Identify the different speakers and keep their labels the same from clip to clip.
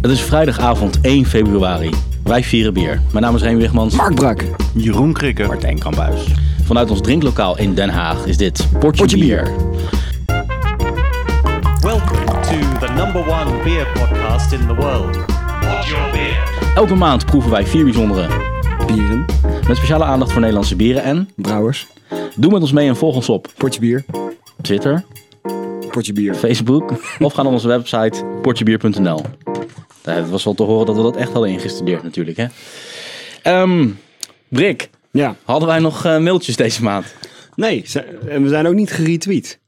Speaker 1: Het is vrijdagavond 1 februari. Wij vieren bier. Mijn naam is Reen Wigmans.
Speaker 2: Mark Brak.
Speaker 3: Jeroen Krikke.
Speaker 4: Martijn Kambuis.
Speaker 1: Vanuit ons drinklokaal in Den Haag is dit Potje,
Speaker 2: Potje
Speaker 1: bier.
Speaker 2: Bier.
Speaker 5: Welcome to the number one beer podcast in the world. What's your beer?
Speaker 1: Elke maand proeven wij vier bijzondere.
Speaker 2: Bieren.
Speaker 1: Met speciale aandacht voor Nederlandse bieren en...
Speaker 2: Brouwers.
Speaker 1: Doe met ons mee en volg ons op
Speaker 2: Potje bier.
Speaker 1: Twitter,
Speaker 2: Potje bier.
Speaker 1: Facebook of ga naar onze website potjebier.nl. Nou, Het was wel te horen dat we dat echt hadden ingestudeerd natuurlijk. Hè? Ehm, Brik,
Speaker 2: Ja.
Speaker 1: hadden wij nog eh, mailtjes deze maand?
Speaker 2: Nee, ze- en we zijn ook niet geretweet.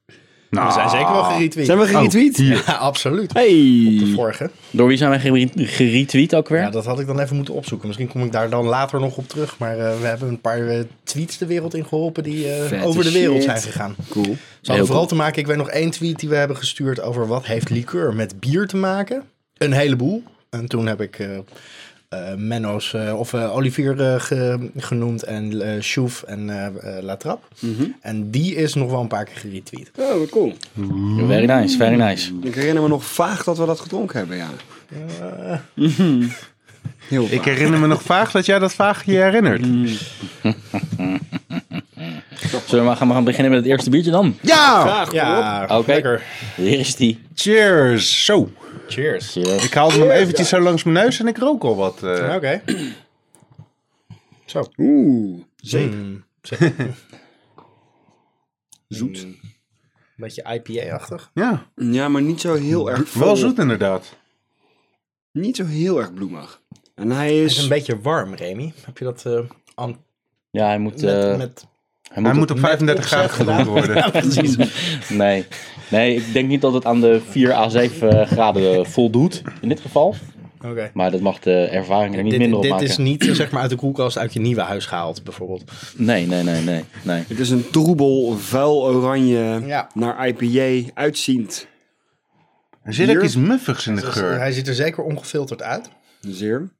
Speaker 3: Nou,
Speaker 4: We zijn zeker wel geretweet. Oh.
Speaker 2: Zijn we geretweet?
Speaker 4: Ja, absoluut.
Speaker 2: Hey.
Speaker 4: Vorige.
Speaker 1: Door wie zijn wij gere- geretweet ook weer?
Speaker 4: Ja, dat had ik dan even moeten opzoeken. Misschien kom ik daar dan later nog op terug. Maar eh, we hebben een paar eh, tweets de wereld in geholpen die eh,
Speaker 2: Vette
Speaker 4: over de wereld
Speaker 2: shit.
Speaker 4: zijn gegaan. Ze
Speaker 2: Cool.
Speaker 4: hadden
Speaker 1: Heel
Speaker 4: vooral te maken, ik weet nog één tweet die we hebben gestuurd over wat heeft liqueur met bier te maken. Een heleboel. En toen heb ik eh, eh, Menno's eh, of eh, Olivier eh, ge- genoemd en eh, Sjoef en eh eh, Latrap.
Speaker 2: Mhm.
Speaker 4: En die is nog wel een paar keer geretweet.
Speaker 2: Oh, wat cool.
Speaker 1: Very nice, very nice.
Speaker 2: Ik herinner me nog vaag dat we dat gedronken hebben, ja. Mhm. Heel vaag.
Speaker 3: Ik herinner me nog vaag dat jij dat vaag je herinnert.
Speaker 1: Zullen we maar gaan, we gaan beginnen met het eerste biertje dan?
Speaker 3: Ja!
Speaker 4: Ja,
Speaker 1: Oké. Hier is die.
Speaker 3: Cheers! Zo.
Speaker 4: Cheers.
Speaker 3: Ik haalde hem eventjes zo langs mijn neus en ik rook al wat. eh.
Speaker 4: Oké. Zo. Hmm,
Speaker 2: Oeh.
Speaker 4: Zeep. Zoet. Hmm. beetje IPA-achtig.
Speaker 3: Ja,
Speaker 2: Ja, maar niet zo heel erg vol.
Speaker 3: wel zoet inderdaad.
Speaker 2: Niet zo heel erg bloemig. En hij
Speaker 4: Het is een
Speaker 2: is...
Speaker 4: beetje warm, Remy. Heb je dat eh, aan,
Speaker 1: Ja, hij moet...
Speaker 4: met,
Speaker 1: eh,
Speaker 4: met...
Speaker 1: hij
Speaker 3: Hij
Speaker 1: moet,
Speaker 3: moet op 35
Speaker 4: opzet
Speaker 3: graden gedaan worden.
Speaker 4: Precies.
Speaker 1: nee. nee, ik denk niet dat het aan de 4 à 7 eh, graden eh, voldoet in dit geval.
Speaker 4: Oké.
Speaker 1: Maar dat mag de ervaring er niet
Speaker 4: Dit,
Speaker 1: minder op
Speaker 4: dit
Speaker 1: maken.
Speaker 4: is niet eh, zeg maar uit de koelkast uit je nieuwe huis gehaald, bijvoorbeeld.
Speaker 1: Nee, nee, nee, nee. nee.
Speaker 2: Het is een troebel, vuil oranje,
Speaker 4: Ja.
Speaker 2: naar IPA, uitziend.
Speaker 3: Er zit ook
Speaker 2: Bier?
Speaker 3: iets muffigs in de
Speaker 4: Dus
Speaker 3: geur.
Speaker 4: hij ziet er zeker ongefilterd uit.
Speaker 2: Zeer.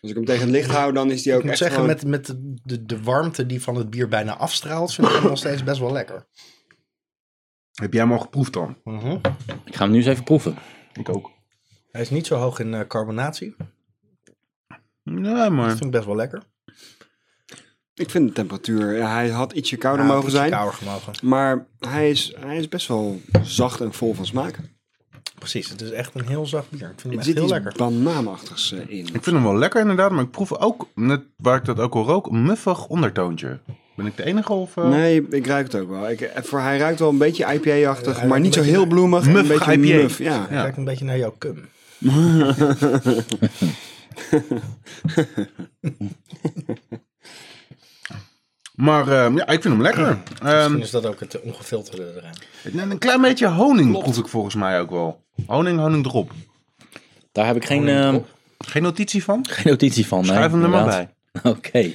Speaker 2: Als ik hem tegen het licht hou, dan is die ook
Speaker 4: Ik moet
Speaker 2: echt
Speaker 4: zeggen,
Speaker 2: gewoon-
Speaker 4: met, met de, de warmte die van het bier bijna afstraalt, vind ik hem nog steeds best wel lekker.
Speaker 3: Heb jij hem al geproefd dan?
Speaker 4: Mhm.
Speaker 1: Ik ga hem nu eens even proeven.
Speaker 3: Ik ook.
Speaker 4: Hij is niet zo hoog in eh, carbonatie. Dat
Speaker 3: Nee, maar...
Speaker 4: vind ik best wel lekker.
Speaker 2: Ik vind de temperatuur... ja, hij had ietsje kouder
Speaker 4: Ja,
Speaker 2: mogen
Speaker 4: ietsje
Speaker 2: zijn.
Speaker 4: Kouder gemogen.
Speaker 2: Maar hij is, hij is best wel zacht en vol van smaak.
Speaker 4: Precies, het is echt een heel zacht bier. Ik vind hem
Speaker 2: Er
Speaker 4: echt
Speaker 2: zit
Speaker 4: heel
Speaker 2: iets
Speaker 4: lekker.
Speaker 2: banaanachtigs eh, in.
Speaker 3: Ik vind hem wel lekker inderdaad, maar ik proef ook, net waar ik dat ook al rook, een muffig ondertoontje. Ben ik de enige of... eh,
Speaker 2: Nee, ik ruik het ook wel. Ik, eh, voor, hij ruikt wel een beetje IPA-achtig, maar niet zo
Speaker 4: beetje
Speaker 2: heel bloemig.
Speaker 3: muffig
Speaker 2: een beetje
Speaker 3: IPA.
Speaker 2: muf, ja.
Speaker 3: Ja.
Speaker 4: Het lijkt een beetje naar jouw cum.
Speaker 3: Maar eh, ja, ik vind hem lekker. Ehm,
Speaker 4: Misschien is dat ook het eh, ongefilterde erin.
Speaker 3: en een klein beetje honing proef ik volgens mij ook wel. Honing, honingdrop.
Speaker 1: Daar heb ik geen, eh,
Speaker 3: Geen notitie van?
Speaker 1: geen notitie van. nee,
Speaker 3: Schrijf hem er maar
Speaker 1: inderdaad.
Speaker 3: bij.
Speaker 1: Oké.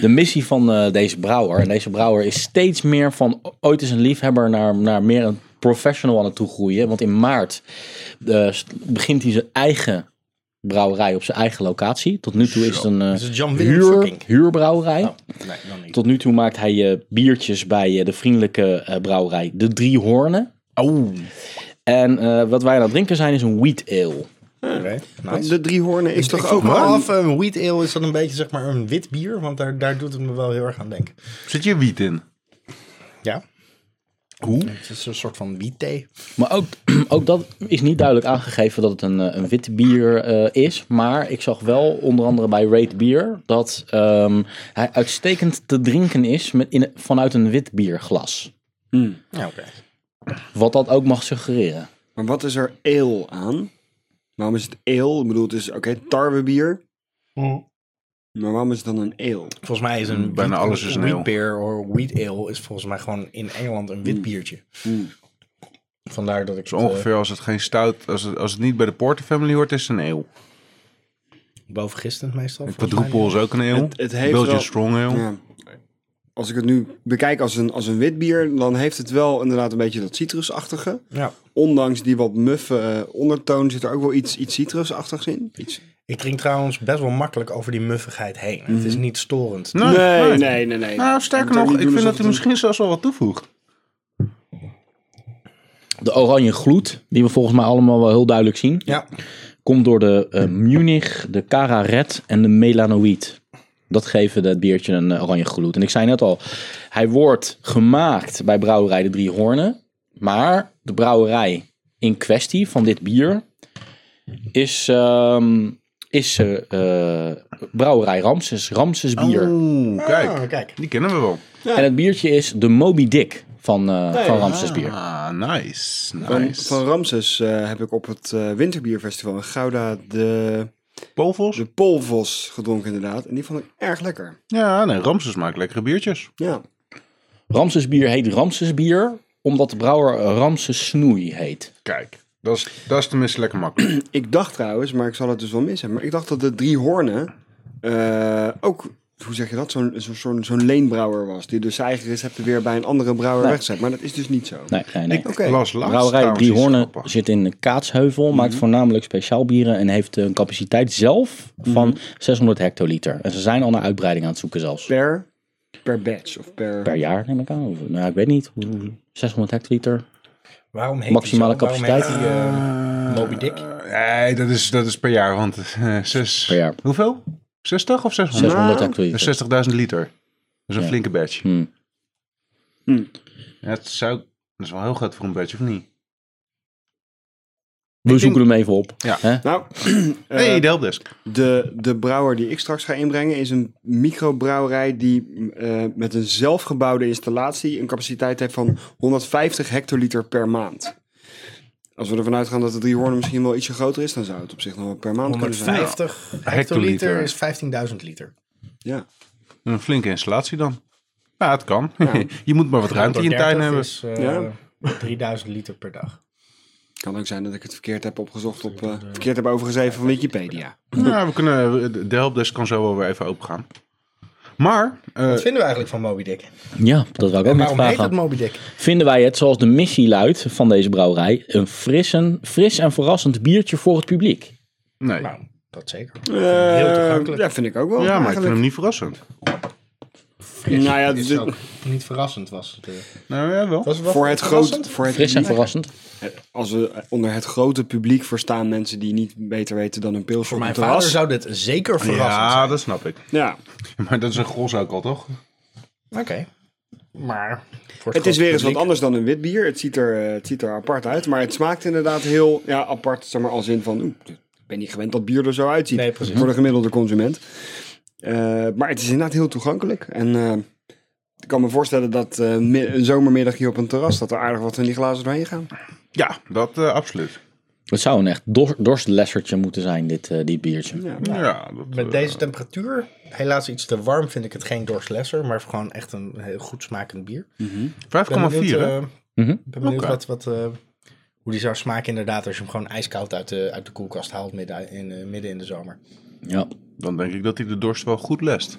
Speaker 1: De missie van eh, deze brouwer. En deze brouwer is steeds meer van o- ooit is een liefhebber naar, naar meer een professional aan het toegroeien. Want in maart eh, st- begint hij zijn eigen brouwerij op zijn eigen locatie. Tot nu toe is het een eh,
Speaker 4: Is het Jan Oh. Willem
Speaker 1: huur,
Speaker 4: Fucking?
Speaker 1: huurbrouwerij.
Speaker 4: Nee, dan niet.
Speaker 1: Tot nu toe maakt hij eh, biertjes bij eh, de vriendelijke eh, brouwerij De Drie Hoornen.
Speaker 3: Oh.
Speaker 1: En eh, wat wij aan het drinken zijn is een wheat ale.
Speaker 4: Oké,
Speaker 2: Want
Speaker 4: nice.
Speaker 2: De drie hoornen is
Speaker 4: Ik
Speaker 2: toch
Speaker 4: vroeg
Speaker 2: ook
Speaker 4: me
Speaker 2: wel
Speaker 4: af, een wheat ale is dat een beetje zeg maar een wit bier? Want daar, daar doet het me wel heel erg aan denken.
Speaker 3: Zit je wiet in?
Speaker 4: Ja,
Speaker 3: Hoe?
Speaker 4: het is een soort van wheat thee.
Speaker 1: Maar ook, ook dat is niet duidelijk aangegeven dat het een, eh, een wit bier eh, is. Maar ik zag wel onder andere bij Raid Beer dat ehm, hij uitstekend te drinken is met in, vanuit een wit bierglas.
Speaker 4: Ja, oké.
Speaker 1: Wat dat ook mag suggereren.
Speaker 2: Maar wat is er eel aan? Waarom is het eel? Ik bedoel, het is oké, tarwebier.
Speaker 4: Mm.
Speaker 2: Maar waarom is het dan een eel?
Speaker 4: Volgens mij is een
Speaker 3: Bijna
Speaker 4: wheat-
Speaker 3: alles is een ale.
Speaker 4: wheat beer of wheat ale is volgens mij gewoon in Engeland een wit biertje. Vandaar dat ik
Speaker 3: Zo ongeveer als het geen stout, als het, als het niet bij de Porter Family hoort, is het een eeuw.
Speaker 4: eh, boven gisteren meestal. volgens mij.
Speaker 3: Quadruple is ook een eeuw.
Speaker 2: Het- het heeft
Speaker 3: Belgian
Speaker 2: wel-
Speaker 3: Strong eeuw.
Speaker 2: Ja. Als ik het nu bekijk als een, als een wit bier, dan heeft het wel inderdaad een beetje dat citrusachtige.
Speaker 4: Ja.
Speaker 2: Ondanks die wat muffe eh, ondertoon zit er ook wel iets, iets citrusachtigs in. Iets...
Speaker 4: Ik drink trouwens best wel makkelijk over die muffigheid heen.
Speaker 1: Mhm.
Speaker 4: Het is niet storend.
Speaker 3: Nee, nee.
Speaker 2: nee. Nou, nee.
Speaker 3: Nou, sterker nog, ik vind dat hij misschien zelfs wel wat toevoegt.
Speaker 1: De oranje gloed, die we volgens mij allemaal wel heel duidelijk zien,
Speaker 4: Ja.
Speaker 1: komt door de eh, Munich, de Cara Red en de Melanoïd. Dat geven dat biertje een eh, oranje gloed. En ik zei net al, hij wordt gemaakt bij brouwerij De Drie Hoornen. Maar de brouwerij in kwestie van dit bier is, ehm, is eh, eh, brouwerij Ramses, Ramses bier.
Speaker 3: Oeh, kijk.
Speaker 4: Ah, kijk.
Speaker 3: Die kennen we wel.
Speaker 1: En het biertje is de Moby Dick van, eh, van Ramses bier.
Speaker 3: Ah, nice.
Speaker 2: Van,
Speaker 3: Nice.
Speaker 2: van Ramses eh, heb ik op het eh, Winterbierfestival in Gouda de,
Speaker 3: Polvos?
Speaker 2: de Polvos gedronken inderdaad. En die vond ik erg lekker.
Speaker 3: Ja, nee, Ramses maakt lekkere biertjes.
Speaker 2: Ja.
Speaker 1: Ramses bier heet Ramses bier omdat de brouwer Ramses Snoei heet.
Speaker 3: Kijk, dat is, dat is tenminste lekker makkelijk.
Speaker 2: Ik dacht trouwens, maar ik zal het dus wel mis hebben. Maar ik dacht dat de drie hoornen eh, ook, hoe zeg je dat, zo'n zo'n zo'n zo'n leenbrouwer was. Die dus zijn eigen recepten weer bij een andere brouwer wegzet. Maar dat is dus niet zo.
Speaker 1: Nee, nee, nee.
Speaker 2: Oké.
Speaker 3: Las laatst
Speaker 1: Brouwerij
Speaker 3: trouwens
Speaker 1: Drie
Speaker 3: iets
Speaker 1: Hoornen
Speaker 3: grappigs.
Speaker 1: zit in Kaatsheuvel, maakt voornamelijk speciaalbieren en heeft een capaciteit zelf van 600 hectoliter. En ze zijn al naar uitbreiding aan het zoeken zelfs.
Speaker 2: Per, per batch of per...
Speaker 1: Per jaar neem ik aan. Of, nou, ik weet niet. Hoe- 600 hectoliter.
Speaker 4: Waarom heet
Speaker 1: Maximale
Speaker 4: die zo? Waarom heet
Speaker 1: capaciteit? Ah,
Speaker 4: die, eh, Moby Dick?
Speaker 3: Eh, Nee, dat is, dat is per jaar, want eh zes...
Speaker 1: Per jaar.
Speaker 3: Hoeveel? 60 of 600?
Speaker 1: 600
Speaker 3: Dat
Speaker 1: hectoliter.
Speaker 3: is 60.000 liter. Dat is een
Speaker 1: Ja.
Speaker 3: flinke batch.
Speaker 1: Hm.
Speaker 2: Hm.
Speaker 3: Ja, het zou, dat is wel heel groot voor een batch, of niet?
Speaker 1: We zoeken hem even op.
Speaker 3: Ja.
Speaker 1: Hè?
Speaker 2: Nou, eh,
Speaker 3: Nee, de helpdesk.
Speaker 2: de, de brouwer die ik straks ga inbrengen is een microbrouwerij die eh, met een zelfgebouwde installatie een capaciteit heeft van 150 hectoliter per maand. Als we ervan uitgaan dat de drie hoornen misschien wel ietsje groter is, dan zou het op zich nog wel per maand kunnen zijn.
Speaker 4: 150 hectoliter
Speaker 3: Hectoliter.
Speaker 4: is 15.000 liter.
Speaker 2: Ja.
Speaker 3: Een flinke installatie dan. Ja, het kan. je moet maar wat ruimte in je tuin
Speaker 4: 130
Speaker 3: hebben.
Speaker 4: is eh,
Speaker 2: Ja.
Speaker 4: 3000 liter per dag.
Speaker 2: Kan ook zijn dat ik het verkeerd heb opgezocht op eh, verkeerd heb overgeschreven van Wikipedia.
Speaker 3: Ja, Nou, we kunnen, de helpdesk kan zo wel weer even opengaan. Maar, eh,
Speaker 4: Wat vinden we eigenlijk van Moby Dick?
Speaker 1: ja, dat wil ik ook
Speaker 4: En
Speaker 1: niet
Speaker 4: waarom heet
Speaker 1: vragen.
Speaker 4: dat Moby Dick?
Speaker 1: vinden wij het, zoals de missie luidt van deze brouwerij, een fris en, fris en verrassend biertje voor het publiek.
Speaker 3: nee.
Speaker 4: Nou, dat zeker.
Speaker 2: Eh,
Speaker 4: Heel toegankelijk.
Speaker 2: Ja, vind ik ook wel.
Speaker 3: ja, maar ik vind
Speaker 2: eigenlijk.
Speaker 3: hem niet verrassend.
Speaker 2: Nou ja,
Speaker 4: Is
Speaker 2: dit-
Speaker 4: ook niet verrassend was het. eh.
Speaker 3: Nou ja, wel.
Speaker 4: Was het wel
Speaker 2: voor het
Speaker 4: verrassend?
Speaker 2: groot, voor het
Speaker 1: Fris en verrassend.
Speaker 2: als we onder het grote publiek verstaan mensen die niet beter weten dan een pils
Speaker 4: Voor
Speaker 2: op een
Speaker 4: mijn vader
Speaker 2: terras.
Speaker 4: zou dit zeker verrassend
Speaker 3: Ja, dat snap ik.
Speaker 2: Ja,
Speaker 3: Maar dat is een gros ook al, toch?
Speaker 4: zijn. Oké. Maar voor
Speaker 2: Het is
Speaker 4: grote
Speaker 2: weer eens wat
Speaker 4: publiek-
Speaker 2: anders dan een wit bier. Het ziet, er, eh, het ziet er apart uit, maar het smaakt inderdaad heel ja, apart. Zeg maar als in van, oeh, ik ben niet gewend dat bier er zo uitziet.
Speaker 4: Nee, precies.
Speaker 2: Voor de gemiddelde consument. Eh, maar het is inderdaad heel toegankelijk. En eh, ik kan me voorstellen dat eh, mi- een zomermiddag hier op een terras... dat er aardig wat van die glazen doorheen gaan.
Speaker 3: Ja, dat eh, absoluut.
Speaker 1: Het zou een echt dor- dorstlessertje moeten zijn, dit, eh, dit biertje.
Speaker 2: Ja.
Speaker 3: Ja, dat, eh,
Speaker 4: Met deze temperatuur, helaas iets te warm, vind ik het geen dorstlesser, maar gewoon echt een heel goed smakend bier. Ik ben
Speaker 3: 5,4
Speaker 4: benieuwd,
Speaker 3: hè?
Speaker 4: eh,
Speaker 1: Mhm.
Speaker 4: ben benieuwd
Speaker 3: Oké.
Speaker 4: wat, wat, eh, hoe die zou smaken inderdaad als je hem gewoon ijskoud uit de, uit de koelkast haalt midden in, eh, midden in de zomer.
Speaker 1: Ja.
Speaker 3: Dan denk ik dat hij de dorst wel goed lest.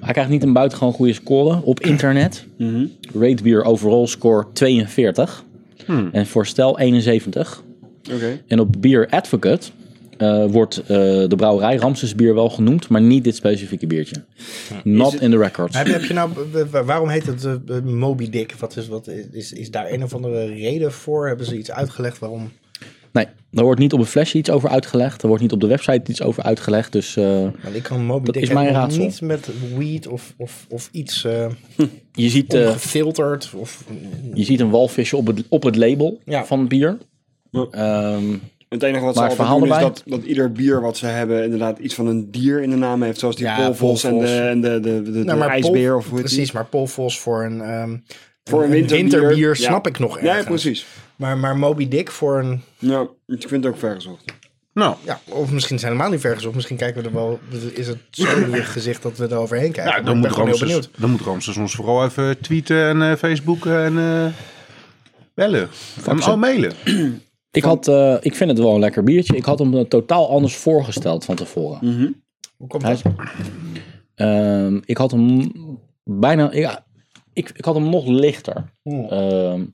Speaker 1: Hij krijgt niet een buitengewoon goede score op internet.
Speaker 4: Mhm.
Speaker 1: Rate Beer overall score 42.
Speaker 4: Hmm.
Speaker 1: En voor stel 71.
Speaker 2: Oké.
Speaker 1: En op Beer Advocate eh, wordt eh, de brouwerij Ramses bier wel genoemd, maar niet dit specifieke biertje. Not in the records.
Speaker 4: Heb, je- heb je nou, w- w- waarom heet het eh, eh, Moby Dick? Wat is, wat is- is, is daar een of andere reden voor? Hebben ze iets uitgelegd waarom?
Speaker 1: Nee, daar wordt niet op een flesje iets over uitgelegd. Er wordt niet op de website iets over uitgelegd. Dus eh,
Speaker 4: Want ik kan Moby
Speaker 1: Dat
Speaker 4: Dick
Speaker 1: is mijn
Speaker 4: helemaal
Speaker 1: raadsel.
Speaker 4: niet met weed of, of, of iets eh
Speaker 1: je, ziet, eh,
Speaker 4: gefilterd. Of,
Speaker 1: je ziet een walvisje op het, op het label
Speaker 4: Ja.
Speaker 1: van het bier.
Speaker 2: Ja.
Speaker 1: Ehm,
Speaker 2: En het enige wat ze
Speaker 1: Maar het
Speaker 2: altijd
Speaker 1: verhaal
Speaker 2: doen is
Speaker 1: erbij?
Speaker 2: dat, dat ieder bier wat ze hebben... inderdaad iets van een dier in de naam heeft. Zoals die
Speaker 4: Ja,
Speaker 2: polvos en de,
Speaker 4: polvos.
Speaker 2: en de, de, de, de
Speaker 4: Nou, maar
Speaker 2: ijsbeer
Speaker 4: Pol-
Speaker 2: of hoe heet die?
Speaker 4: Precies, maar polvos voor een, ehm,
Speaker 2: Voor een winterbier, ja.
Speaker 4: snap ik nog
Speaker 2: Ja,
Speaker 4: ergens.
Speaker 2: precies.
Speaker 4: Maar, maar Moby Dick voor een...
Speaker 2: Ja, ik vind het ook vergezocht.
Speaker 3: Nou,
Speaker 4: Ja, of misschien zijn we helemaal niet vergezocht. Misschien kijken we er wel... Is het zo in je gezicht dat we er overheen kijken.
Speaker 3: ja,
Speaker 4: Maar
Speaker 3: dan,
Speaker 4: ik
Speaker 3: moet
Speaker 4: ben gewoon heel benieuwd.
Speaker 3: Ramses, dan moet Ramses ons vooral even tweeten en eh Facebooken en eh, bellen. En al mailen.
Speaker 1: ik, had, eh, ik vind het wel een lekker biertje. Ik had hem eh, totaal anders voorgesteld van tevoren.
Speaker 4: Hoe komt
Speaker 1: Hij
Speaker 4: dat?
Speaker 1: is- Ehm, ik had hem bijna. Ja, ik, ik had hem nog lichter. Ehm,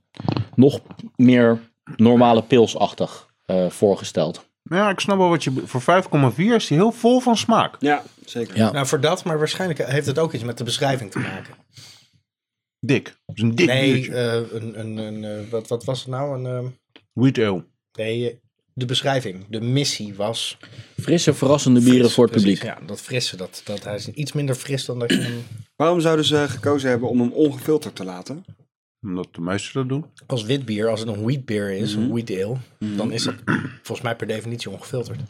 Speaker 1: nog meer normale pilsachtig eh, voorgesteld.
Speaker 3: Ja, ik snap wel wat je... be- Voor 5,4 is hij heel vol van smaak.
Speaker 2: Ja, zeker.
Speaker 1: Ja.
Speaker 4: Nou, voor dat, maar waarschijnlijk heeft het ook iets met de beschrijving te maken.
Speaker 3: Dik. Dat is een dik
Speaker 4: Nee,
Speaker 3: biertje.
Speaker 4: eh, een, een, een, eh, wat, wat was het nou? Een, eh,
Speaker 3: Wheat ale.
Speaker 4: nee, eh, de beschrijving, de missie was...
Speaker 1: Frisse, verrassende bieren
Speaker 4: fris,
Speaker 1: voor het
Speaker 4: precies.
Speaker 1: publiek.
Speaker 4: Ja, dat frisse, dat, dat, hij is iets minder fris dan dat je hem
Speaker 2: Waarom zouden ze gekozen hebben om hem ongefilterd te laten?
Speaker 3: Omdat de meesten dat doen.
Speaker 4: als wit bier, als het een wheat beer is, een wheat ale, dan is dat volgens mij per definitie ongefilterd.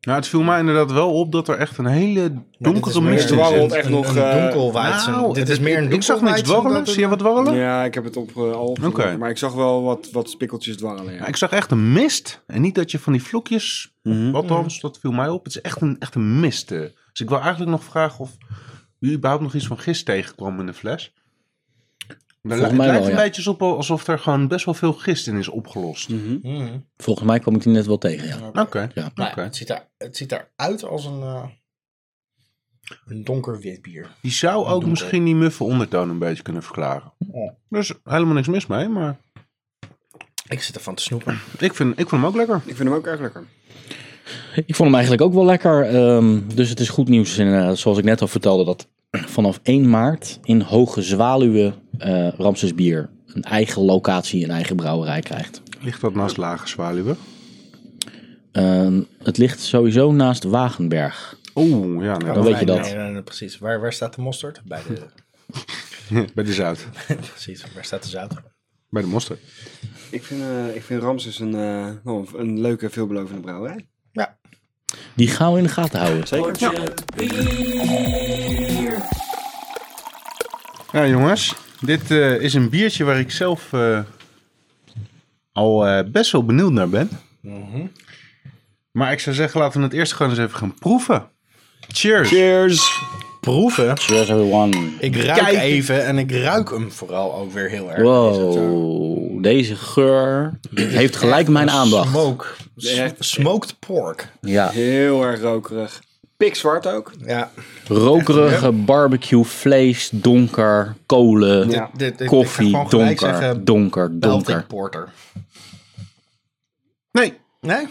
Speaker 3: Nou, het viel mij inderdaad wel op dat er echt een hele donkere
Speaker 4: Nou, meer
Speaker 3: mist in
Speaker 2: dwarrel
Speaker 3: zit.
Speaker 2: dwarrelt echt nog,
Speaker 4: Een,
Speaker 2: eh,
Speaker 4: donkelweizen.
Speaker 3: Nou,
Speaker 4: dit is meer
Speaker 3: Ik
Speaker 4: een
Speaker 3: zag niks
Speaker 4: donkelweizen dan
Speaker 3: dwarrelen.
Speaker 4: een-
Speaker 3: Zie je wat dwarrelen?
Speaker 2: Ja, ik heb het op, eh, al opgezocht,
Speaker 3: Oké.
Speaker 2: maar ik zag wel wat, wat spikkeltjes dwarrelen.
Speaker 3: Ja,
Speaker 2: Ja.
Speaker 3: ik zag echt een mist. En niet dat je van die vlokjes.
Speaker 1: Mhm.
Speaker 3: Althans, dat viel mij op. Het is echt een, echt een mist. eh. Dus ik wil eigenlijk nog vragen of u überhaupt nog iets van gist tegenkwam in de fles. Maar
Speaker 1: Volgens
Speaker 3: het
Speaker 1: mij
Speaker 3: lijkt
Speaker 1: wel,
Speaker 3: een
Speaker 1: ja.
Speaker 3: beetje op alsof er gewoon best wel veel gist in is opgelost.
Speaker 4: Mhm.
Speaker 1: Volgens mij kwam ik die net wel tegen, ja.
Speaker 3: Oké.
Speaker 1: Ja.
Speaker 3: oké.
Speaker 4: Nou ja, het, ziet er, het ziet eruit als een, eh, een donker wit bier.
Speaker 3: Die zou ook misschien die muffe ondertoon een beetje kunnen verklaren.
Speaker 4: Ja.
Speaker 3: Dus helemaal niks mis mee, maar
Speaker 4: Ik zit ervan te snoepen.
Speaker 3: ik vind, ik vind hem ook lekker.
Speaker 2: Ik vind hem ook erg lekker.
Speaker 1: Ik vond hem eigenlijk ook wel lekker. ehm, dus het is goed nieuws. En, eh, zoals ik net al vertelde, dat vanaf 1 maart in Hoge Zwaluwe eh Ramses Bier een eigen locatie, een eigen brouwerij krijgt.
Speaker 3: Ligt dat naast lage zwaluwen?
Speaker 1: Ehm, het ligt sowieso naast Wagenberg.
Speaker 3: Oeh, ja, nee,
Speaker 1: Dan weet je dat.
Speaker 4: Nee, nee, nee, precies. Waar, waar staat de mosterd? Bij de,
Speaker 3: bij de zout.
Speaker 4: precies, waar staat de zout?
Speaker 3: Bij de mosterd.
Speaker 2: Ik vind, eh, ik vind Ramses een, eh, wel een- een leuke, veelbelovende brouwerij.
Speaker 4: Ja.
Speaker 1: Die gaan we in de gaten houden.
Speaker 2: Zeker.
Speaker 3: Nou jongens, dit eh, is een biertje waar ik zelf eh, al eh, best wel benieuwd naar ben. Mhm. Maar ik zou zeggen, laten we het eerst gewoon eens even gaan proeven. Cheers!
Speaker 2: Cheers!
Speaker 4: Proeven.
Speaker 1: Cheers everyone.
Speaker 4: Ik ruik
Speaker 3: Kijk.
Speaker 4: even en ik ruik hem vooral ook weer heel erg.
Speaker 1: Wow, deze geur heeft gelijk mijn aandacht.
Speaker 4: Smoke. S- Smoked pork.
Speaker 1: Ja,
Speaker 2: Heel erg rokerig. Pikzwart ook.
Speaker 4: Ja.
Speaker 1: rokerige barbecue, vlees, donker, kolen,
Speaker 4: Ja, dit- dit- ik ga
Speaker 1: koffie,
Speaker 4: gewoon gelijk
Speaker 1: donker,
Speaker 4: zeggen,
Speaker 1: donker, donker.
Speaker 4: Baltic porter.
Speaker 3: Nee,
Speaker 4: Nee?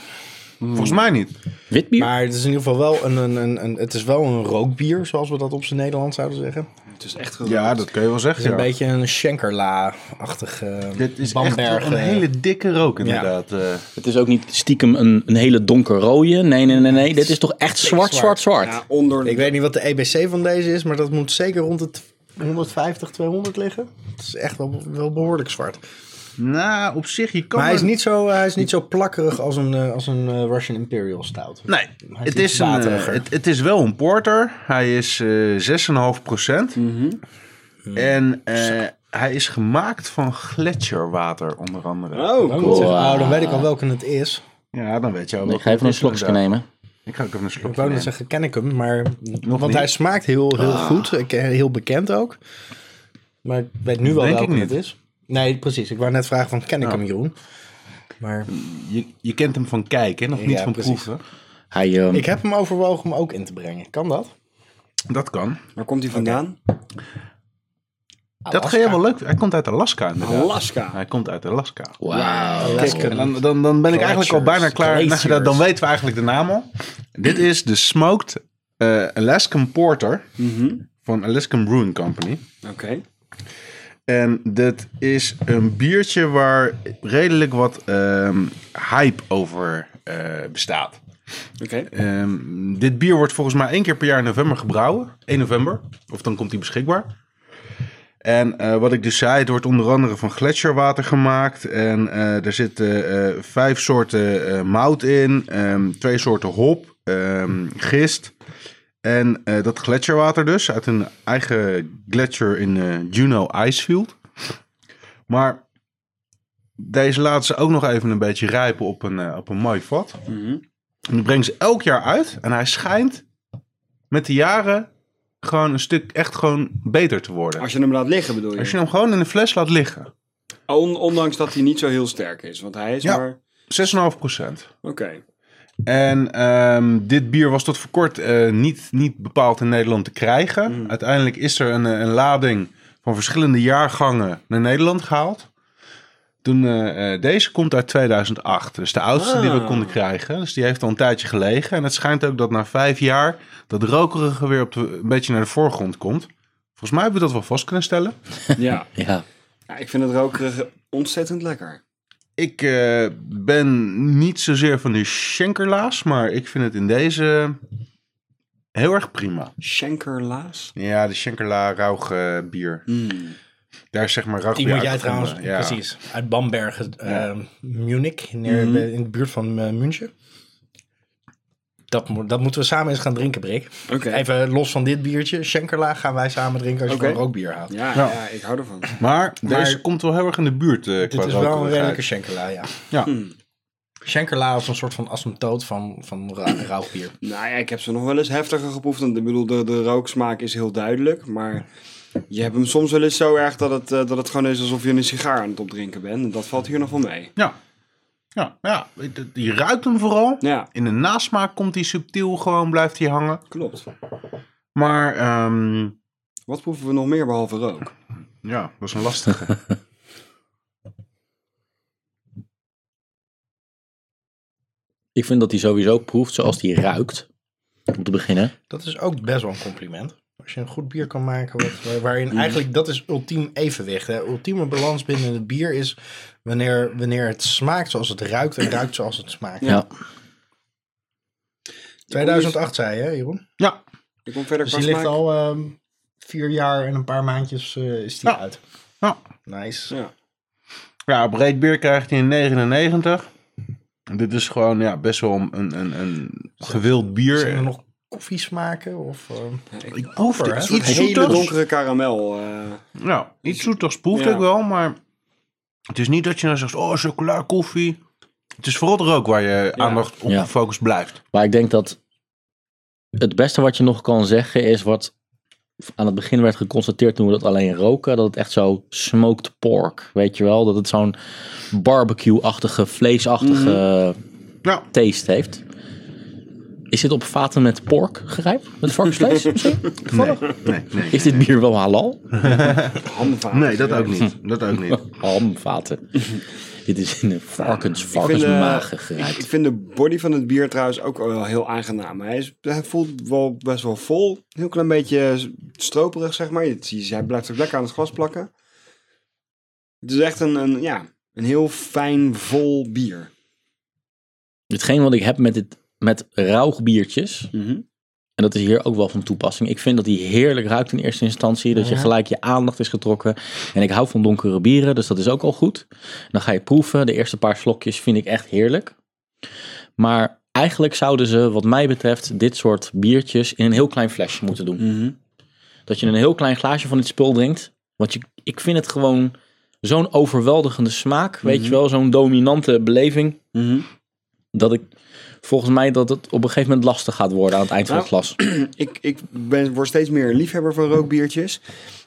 Speaker 3: volgens mij niet.
Speaker 1: Witbier?
Speaker 4: Maar het is in ieder geval wel een, een, een, een- het is wel een rookbier, zoals we dat op zijn Nederlands zouden zeggen. Het
Speaker 2: Het is echt goed.
Speaker 3: Ja, dat kun je wel
Speaker 4: is
Speaker 3: zeggen.
Speaker 4: een
Speaker 3: ja.
Speaker 4: beetje een Schenkerla-achtig eh
Speaker 3: Dit is echt
Speaker 4: Bamberg,
Speaker 3: een
Speaker 4: eh,
Speaker 3: hele dikke rook inderdaad. eh.
Speaker 1: Het is ook niet stiekem een, een hele donker rode. Nee, nee, nee, nee. Dit is toch echt zwart, zwart, zwart.
Speaker 2: Ja, onder
Speaker 4: Ik weet niet wat de EBC van deze is, maar dat moet zeker rond het 150, 200 liggen. Het is echt wel, wel behoorlijk zwart.
Speaker 3: Nou, op zich, je kan...
Speaker 4: Maar hij is
Speaker 3: er-
Speaker 4: niet zo, eh, hij is niet zo plakkerig als een, eh, als een eh, Russian Imperial Stout.
Speaker 3: Nee,
Speaker 4: is
Speaker 3: het
Speaker 4: iets
Speaker 3: is, een, eh,
Speaker 4: wateriger.
Speaker 3: het, het is wel een porter. Hij is eh 6,5 procent.
Speaker 4: Mhm.
Speaker 3: En eh, hij is gemaakt van gletsjerwater, onder andere.
Speaker 2: Oh,
Speaker 4: Oh,
Speaker 2: cool.
Speaker 4: dan weet ik al welke het is.
Speaker 3: Ja, dan weet je al
Speaker 1: Nee,
Speaker 3: wat
Speaker 1: ik ga
Speaker 3: het
Speaker 1: even een
Speaker 3: is,
Speaker 1: slokje
Speaker 3: inderdaad.
Speaker 1: nemen.
Speaker 3: Ik ga ook even een
Speaker 4: Ik
Speaker 3: slokje
Speaker 4: wou net
Speaker 3: nemen.
Speaker 4: zeggen, ken ik hem, maar... want
Speaker 3: niet. Ah.
Speaker 4: hij smaakt heel, heel goed, ik- eh, heel bekend ook. Maar ik weet nu wel
Speaker 3: Denk ik
Speaker 4: welke het
Speaker 3: niet.
Speaker 4: is. Nee, precies. Ik wou net vragen van, ken ik hem, Jeroen? Maar
Speaker 3: Je, je kent hem van kijken, nog niet
Speaker 4: Ja,
Speaker 3: van
Speaker 4: precies.
Speaker 3: proeven.
Speaker 1: Hij, ehm,
Speaker 4: ik heb hem overwogen om ook in te brengen. Kan dat?
Speaker 3: Dat kan.
Speaker 2: Waar komt hij vandaan?
Speaker 3: Dat ga je wel leuk Hij komt uit Alaska, inderdaad.
Speaker 2: Alaska.
Speaker 3: Hij komt uit Alaska.
Speaker 1: Wauw.
Speaker 3: Kijk, en dan, dan, dan ben ik eigenlijk al bijna klaar. Nou,
Speaker 4: Glaciers.
Speaker 3: dan weten we eigenlijk de naam al. Dit is de Smoked eh, Alaskan Porter
Speaker 4: Mhm.
Speaker 3: van Alaskan Brewing Company.
Speaker 2: Oké.
Speaker 3: En dit is een biertje waar redelijk wat ehm, hype over eh, bestaat.
Speaker 2: Oké.
Speaker 3: Ehm, dit bier wordt volgens mij één keer per jaar in november gebrouwen. 1 november. Of dan komt hij beschikbaar. En eh, wat ik dus zei, het wordt onder andere van gletsjerwater gemaakt. En eh, er zitten eh, vijf soorten eh, mout in. ehm, twee soorten hop. ehm, gist. En eh, dat gletsjerwater dus. Uit een eigen gletsjer in eh, Juno Icefield. Maar deze laten ze ook nog even een beetje rijpen op een, eh, op een mooi vat. En die brengt ze elk jaar uit. En hij schijnt met de jaren gewoon een stuk echt gewoon beter te worden.
Speaker 2: Als je hem laat liggen bedoel je?
Speaker 3: Als je hem gewoon in de fles laat liggen.
Speaker 2: On- ondanks dat hij niet zo heel sterk is. Want hij is
Speaker 3: Ja.
Speaker 2: maar...
Speaker 3: 6,5 procent.
Speaker 2: Oké.
Speaker 3: En ehm, dit bier was tot voor kort eh, niet, niet bepaald in Nederland te krijgen. Uiteindelijk is er een, eh, een lading van verschillende jaargangen naar Nederland gehaald. Toen, eh, eh, deze komt uit 2008. Dus de oudste die we
Speaker 2: Ah.
Speaker 3: konden krijgen. Dus die heeft al een tijdje gelegen. En het schijnt ook dat na vijf jaar dat rokerige weer op de, een beetje naar de voorgrond komt. Volgens mij hebben we dat wel vast kunnen stellen.
Speaker 2: Ja.
Speaker 1: Ja.
Speaker 2: ja, ik vind het rokerige ontzettend lekker.
Speaker 3: Ik eh, ben niet zozeer van de schenkerlaas, maar ik vind het in deze heel erg prima.
Speaker 2: Schenkerlaas.
Speaker 3: Ja, de schenkerla rauw bier. Daar is zeg maar rauw
Speaker 4: Die
Speaker 3: bier
Speaker 4: moet jij
Speaker 3: uitgekomen.
Speaker 4: trouwens,
Speaker 3: Ja.
Speaker 4: precies, uit Bamberg, eh,
Speaker 3: Ja. Mhm.
Speaker 4: Munich, neer, bij- in de buurt van eh, München. Dat, moet- dat moeten we samen eens gaan drinken, Brik.
Speaker 2: Oké.
Speaker 4: Even los van dit biertje, Schenkerla gaan wij samen drinken als je
Speaker 2: Oké.
Speaker 4: van rookbier haalt.
Speaker 2: Ja,
Speaker 3: Ja.
Speaker 2: ja. ik hou ervan.
Speaker 3: Maar deze
Speaker 4: Maar-
Speaker 3: komt wel heel erg in de buurt eh qua
Speaker 4: Dit is wel een
Speaker 3: rokerigheid.
Speaker 4: redelijke Schenkerla, ja.
Speaker 3: Ja.
Speaker 4: Schenkerla is een soort van asymptoot van, van ra- rauwbier.
Speaker 2: Nou ja, ik heb ze nog wel eens heftiger geproefd. want Ik bedoel, de, de rooksmaak is heel duidelijk. Maar je hebt hem soms wel eens zo erg dat het, eh, dat het gewoon is alsof je een sigaar aan het opdrinken bent. En dat valt hier nog wel mee.
Speaker 3: Ja. Ja, ja, je ruikt hem vooral.
Speaker 2: Ja,
Speaker 3: In de nasmaak komt hij subtiel gewoon, blijft hij hangen.
Speaker 2: klopt.
Speaker 3: Maar ehm,
Speaker 2: Wat proeven we nog meer behalve rook?
Speaker 3: ja, dat is een lastige.
Speaker 1: Ik vind dat hij sowieso proeft zoals hij ruikt. Om te beginnen.
Speaker 4: Dat is ook best wel een compliment. Als je een goed bier kan maken, wat, waar- waarin
Speaker 3: Hmm.
Speaker 4: eigenlijk dat is ultiem evenwicht. Hè. Ultieme balans binnen het bier is wanneer, wanneer het smaakt zoals het ruikt en ruikt zoals het smaakt.
Speaker 1: Ja.
Speaker 4: 2008 zei je, hè, Jeroen?
Speaker 3: ja,
Speaker 2: Ik kom verder
Speaker 4: Dus
Speaker 2: qua
Speaker 4: die ligt
Speaker 2: smaak.
Speaker 4: al ehm, vier jaar en een paar maandjes eh, is die
Speaker 3: Ja.
Speaker 4: uit.
Speaker 3: ja.
Speaker 4: Nice.
Speaker 2: Ja.
Speaker 3: ja, breed bier krijgt hij in 99. Dit is gewoon ja, best wel een, een, een gewild bier.
Speaker 4: Zijn er nog koffiesmaken? Of, ehm,
Speaker 3: Ik proef
Speaker 4: Over,
Speaker 3: dit-
Speaker 4: hè?
Speaker 3: iets
Speaker 2: Hele
Speaker 3: zoeters.
Speaker 2: donkere karamel. eh,
Speaker 3: Ja, iets zoeters proeft
Speaker 2: Ja.
Speaker 3: ik wel, maar het is niet dat je dan zegt, oh, chocola, koffie. Het is vooral er ook waar je aandacht op
Speaker 1: Ja.
Speaker 3: gefocust blijft.
Speaker 1: Maar ik denk dat het beste wat je nog kan zeggen is wat aan het begin werd geconstateerd toen we dat alleen roken. Dat het echt zo smoked pork, weet je wel. Dat het zo'n barbecue-achtige, vleesachtige
Speaker 2: Mhm.
Speaker 3: Ja,
Speaker 1: taste heeft. Is dit op vaten met pork gerijpt? Met varkensvlees misschien? Toevallig?
Speaker 3: nee, nee.
Speaker 1: Is dit bier wel halal?
Speaker 2: Handenvaten.
Speaker 3: Nee, dat ook niet. Dat ook niet.
Speaker 1: Hamvaten. dit is in een varkens,
Speaker 2: vind, eh,
Speaker 1: varkensmagen
Speaker 2: Ik
Speaker 1: gerijpt.
Speaker 2: vind de body van het bier trouwens ook wel heel aangenaam. Hij, is, hij voelt wel best wel vol. Een heel klein beetje stroperig, zeg maar. Je- je- Hij blijft ook lekker aan het glas plakken. Het is echt een, een, ja, een heel fijn, vol bier.
Speaker 1: Hetgeen wat ik heb met, dit, met rauwbiertjes... En dat is hier ook wel van toepassing. Ik vind dat die heerlijk ruikt in eerste instantie. Dat je gelijk je aandacht is getrokken. En ik hou van donkere bieren, dus dat is ook al goed. Dan ga je proeven. De eerste paar slokjes vind ik echt heerlijk. Maar eigenlijk zouden ze, wat mij betreft, dit soort biertjes in een heel klein flesje moeten doen. Dat je een heel klein glaasje van dit spul drinkt. Want je, ik vind het gewoon zo'n overweldigende smaak. Weet je wel, zo'n dominante beleving. Dat ik volgens mij dat het op een gegeven moment lastig gaat worden aan het eind van het glas.
Speaker 2: Ik, ik ben, word steeds meer een liefhebber van rookbiertjes.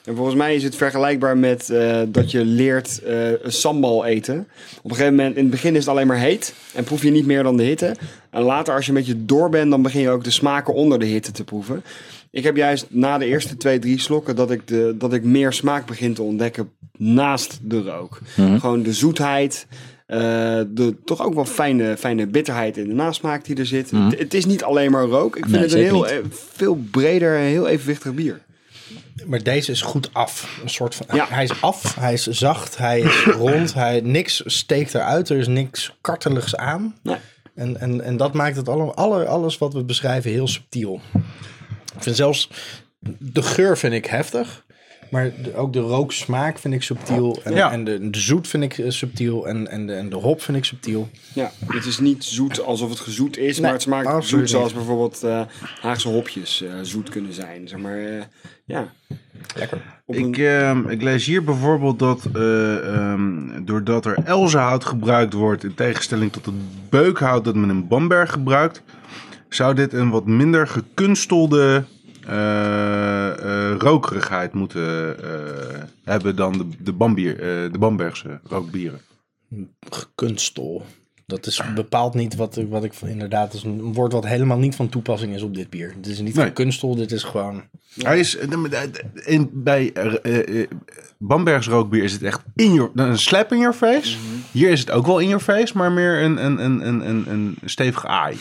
Speaker 2: En volgens mij is het vergelijkbaar met eh, dat je leert eh, een sambal eten. Op een gegeven moment, in het begin is het alleen maar heet. En proef je niet meer dan de hitte. En later, als je een beetje door bent, dan begin je ook de smaken onder de hitte te proeven. Ik heb juist na de eerste twee, drie slokken dat ik, de, dat ik meer smaak begin te ontdekken naast de rook.
Speaker 1: Mhm.
Speaker 2: Gewoon de zoetheid. eh, de toch ook wel fijne, fijne bitterheid in de nasmaak die er zit. Het, het is niet alleen maar rook. Ik vind
Speaker 1: Mhm. Nee,
Speaker 2: het een
Speaker 1: zeker
Speaker 2: heel,
Speaker 1: niet.
Speaker 2: eh, veel breder, en heel evenwichtig bier.
Speaker 4: Maar deze is goed af. Een soort van,
Speaker 2: Ja.
Speaker 4: Hij is af, hij is zacht, hij is rond, hij, niks steekt eruit, er is niks karteligs aan.
Speaker 2: Nee.
Speaker 4: En, en, en dat maakt het alle, alle, alles wat we beschrijven heel subtiel. Ik vind zelfs de geur vind ik heftig, maar de- ook de rooksmaak vind ik subtiel. En,
Speaker 3: Ja.
Speaker 4: en de, de zoet vind ik eh, subtiel en, en, de, en de hop vind ik subtiel.
Speaker 2: Ja, het is niet zoet alsof het gezoet is, maar het smaakt
Speaker 4: absoluut
Speaker 2: zoet
Speaker 4: niet.
Speaker 2: zoals bijvoorbeeld eh, Haagse hopjes eh, zoet kunnen zijn. Zeg maar, eh, ja. Lekker. Op
Speaker 3: Ik,
Speaker 2: een,
Speaker 3: ehm, ik lees hier bijvoorbeeld dat eh, ehm, doordat er elzenhout gebruikt wordt, in tegenstelling tot het beukhout dat men in Bamberg gebruikt, zou dit een wat minder gekunstelde eh, eh, rokerigheid moeten eh, hebben dan de, de, Bambier, eh, de Bambergse rookbieren.
Speaker 4: Gekunstel. Dat is bepaald niet wat, wat ik inderdaad is een woord wat helemaal niet van toepassing is op dit bier. Dit is niet
Speaker 3: Nee.
Speaker 4: gekunstel, dit is gewoon
Speaker 3: Hij is, eh, in, bij eh, eh, Bambergs rookbier is het echt in your, een slap in your face.
Speaker 2: Mhm.
Speaker 3: Hier is het ook wel in your face, maar meer een, een, een, een, een, een stevige aai.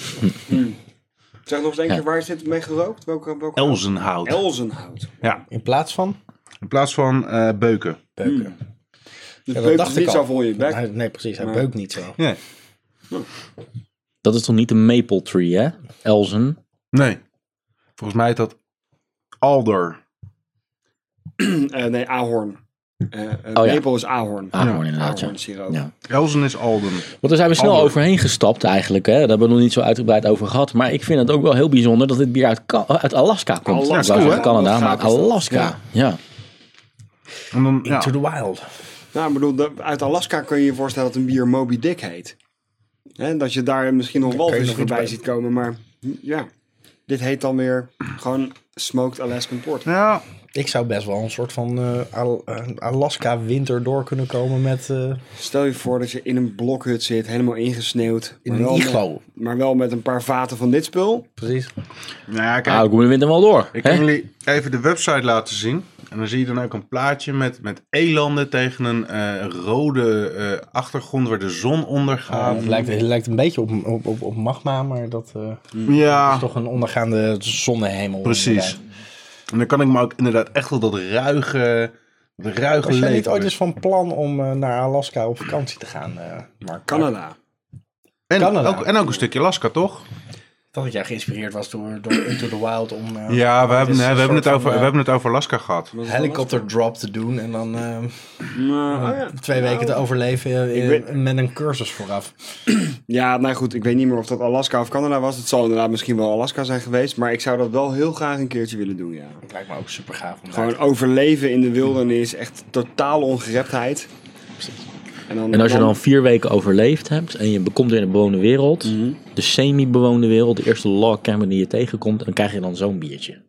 Speaker 2: Zeg nog eens één
Speaker 1: Ja.
Speaker 2: keer, waar is dit mee gerookt? Welke, welke
Speaker 3: Elzenhout.
Speaker 2: Elzenhout.
Speaker 3: ja,
Speaker 4: In plaats van
Speaker 3: in plaats van eh, beuken.
Speaker 4: beuken.
Speaker 2: Dus
Speaker 4: Ja,
Speaker 2: beukt het niet zo voor je bek.
Speaker 4: Hij- Nee, precies. Hij
Speaker 2: Maar-
Speaker 4: beukt niet zo.
Speaker 3: Nee.
Speaker 1: Dat is toch niet een maple tree, hè? Elzen.
Speaker 3: nee. Volgens mij heet dat alder.
Speaker 2: Eh, nee, ahorn. Eh eh,
Speaker 1: Oh, ja.
Speaker 2: Maple is ahorn.
Speaker 1: Ah, gewoon inderdaad, ja.
Speaker 2: Ahornsiroop.
Speaker 1: Ja.
Speaker 3: Elzen is alden.
Speaker 1: Want daar zijn we snel
Speaker 3: Ander.
Speaker 1: overheen gestapt eigenlijk. Hè? Daar hebben we nog niet zo uitgebreid over gehad. Maar ik vind het ook wel heel bijzonder dat dit bier uit, Ka- uit Alaska komt.
Speaker 2: Alaska,
Speaker 1: ik wou zeggen
Speaker 2: hè?
Speaker 1: Canada,
Speaker 2: Wat
Speaker 1: maar
Speaker 2: gaaf is dat.
Speaker 1: Alaska. Ja.
Speaker 3: En dan, ja.
Speaker 4: Into the wild.
Speaker 2: Nou, ik bedoel, de- uit Alaska kun je je voorstellen dat een bier Moby Dick heet. Hè, dat je daar misschien nog
Speaker 4: kun je
Speaker 2: walvis
Speaker 4: nog iets
Speaker 2: voorbij
Speaker 4: bij-
Speaker 2: ziet komen, maar hm, ja. Dit heet dan weer gewoon Smoked Alaskan Port.
Speaker 3: Ja,
Speaker 4: Ik zou best wel een soort van eh, Al- eh, Alaska winter door kunnen komen met eh,
Speaker 2: Stel je voor dat je in een blokhut zit, helemaal ingesneeuwd.
Speaker 4: in
Speaker 2: maar
Speaker 4: een
Speaker 2: wel met-
Speaker 4: iglo.
Speaker 2: Maar wel met een paar vaten van dit spul.
Speaker 4: Precies.
Speaker 3: nou ja, kijk.
Speaker 1: Nou, ik moet de winter wel door.
Speaker 3: Ik
Speaker 1: hè?
Speaker 3: kan jullie even de website laten zien. En dan zie je dan ook een plaatje met, met elanden tegen een eh, rode eh, achtergrond waar de zon
Speaker 2: Ehm,
Speaker 3: ondergaat.
Speaker 4: Eh, het, lijkt, het lijkt een beetje op, op, op, op magma, maar dat eh,
Speaker 3: ja,
Speaker 4: is
Speaker 2: Ah.
Speaker 4: toch een ondergaande zonnehemel.
Speaker 3: precies.
Speaker 4: inderdaad.
Speaker 3: En dan kan ik me ook inderdaad echt wel dat ruige, dat ruige
Speaker 4: Was jij niet
Speaker 3: leven.
Speaker 4: ooit eens van plan om eh, naar Alaska op vakantie te gaan, eh Mark?
Speaker 2: Canada.
Speaker 3: en,
Speaker 4: Canada.
Speaker 3: ook, en ook een stukje Alaska, toch?
Speaker 4: Dat jij geïnspireerd was door, door Into the Wild om eh,
Speaker 3: Ja, we hebben,
Speaker 4: is
Speaker 3: nee,
Speaker 4: een
Speaker 3: we, hebben
Speaker 4: soort
Speaker 3: het over,
Speaker 4: van,
Speaker 3: we
Speaker 4: eh,
Speaker 3: hebben het over Alaska gehad.
Speaker 4: een helicopter drop te doen en dan eh,
Speaker 2: Nou, oh ja.
Speaker 4: twee weken te overleven eh,
Speaker 2: Ik weet-
Speaker 4: met een cursus vooraf.
Speaker 2: Ja, nou goed, ik weet niet meer of dat Alaska of Canada was. Het zal inderdaad misschien wel Alaska zijn geweest. Maar ik zou dat wel heel graag een keertje willen doen, ja.
Speaker 4: Dat lijkt me ook super gaaf. Om
Speaker 2: Gewoon overleven in de wildernis. Echt totale ongereptheid. dan,
Speaker 1: En als je dan vier weken overleefd hebt en je komt weer in de bewoonde wereld, de semi-bewoonde wereld, de eerste logcamper die je tegenkomt, dan krijg je dan zo'n biertje.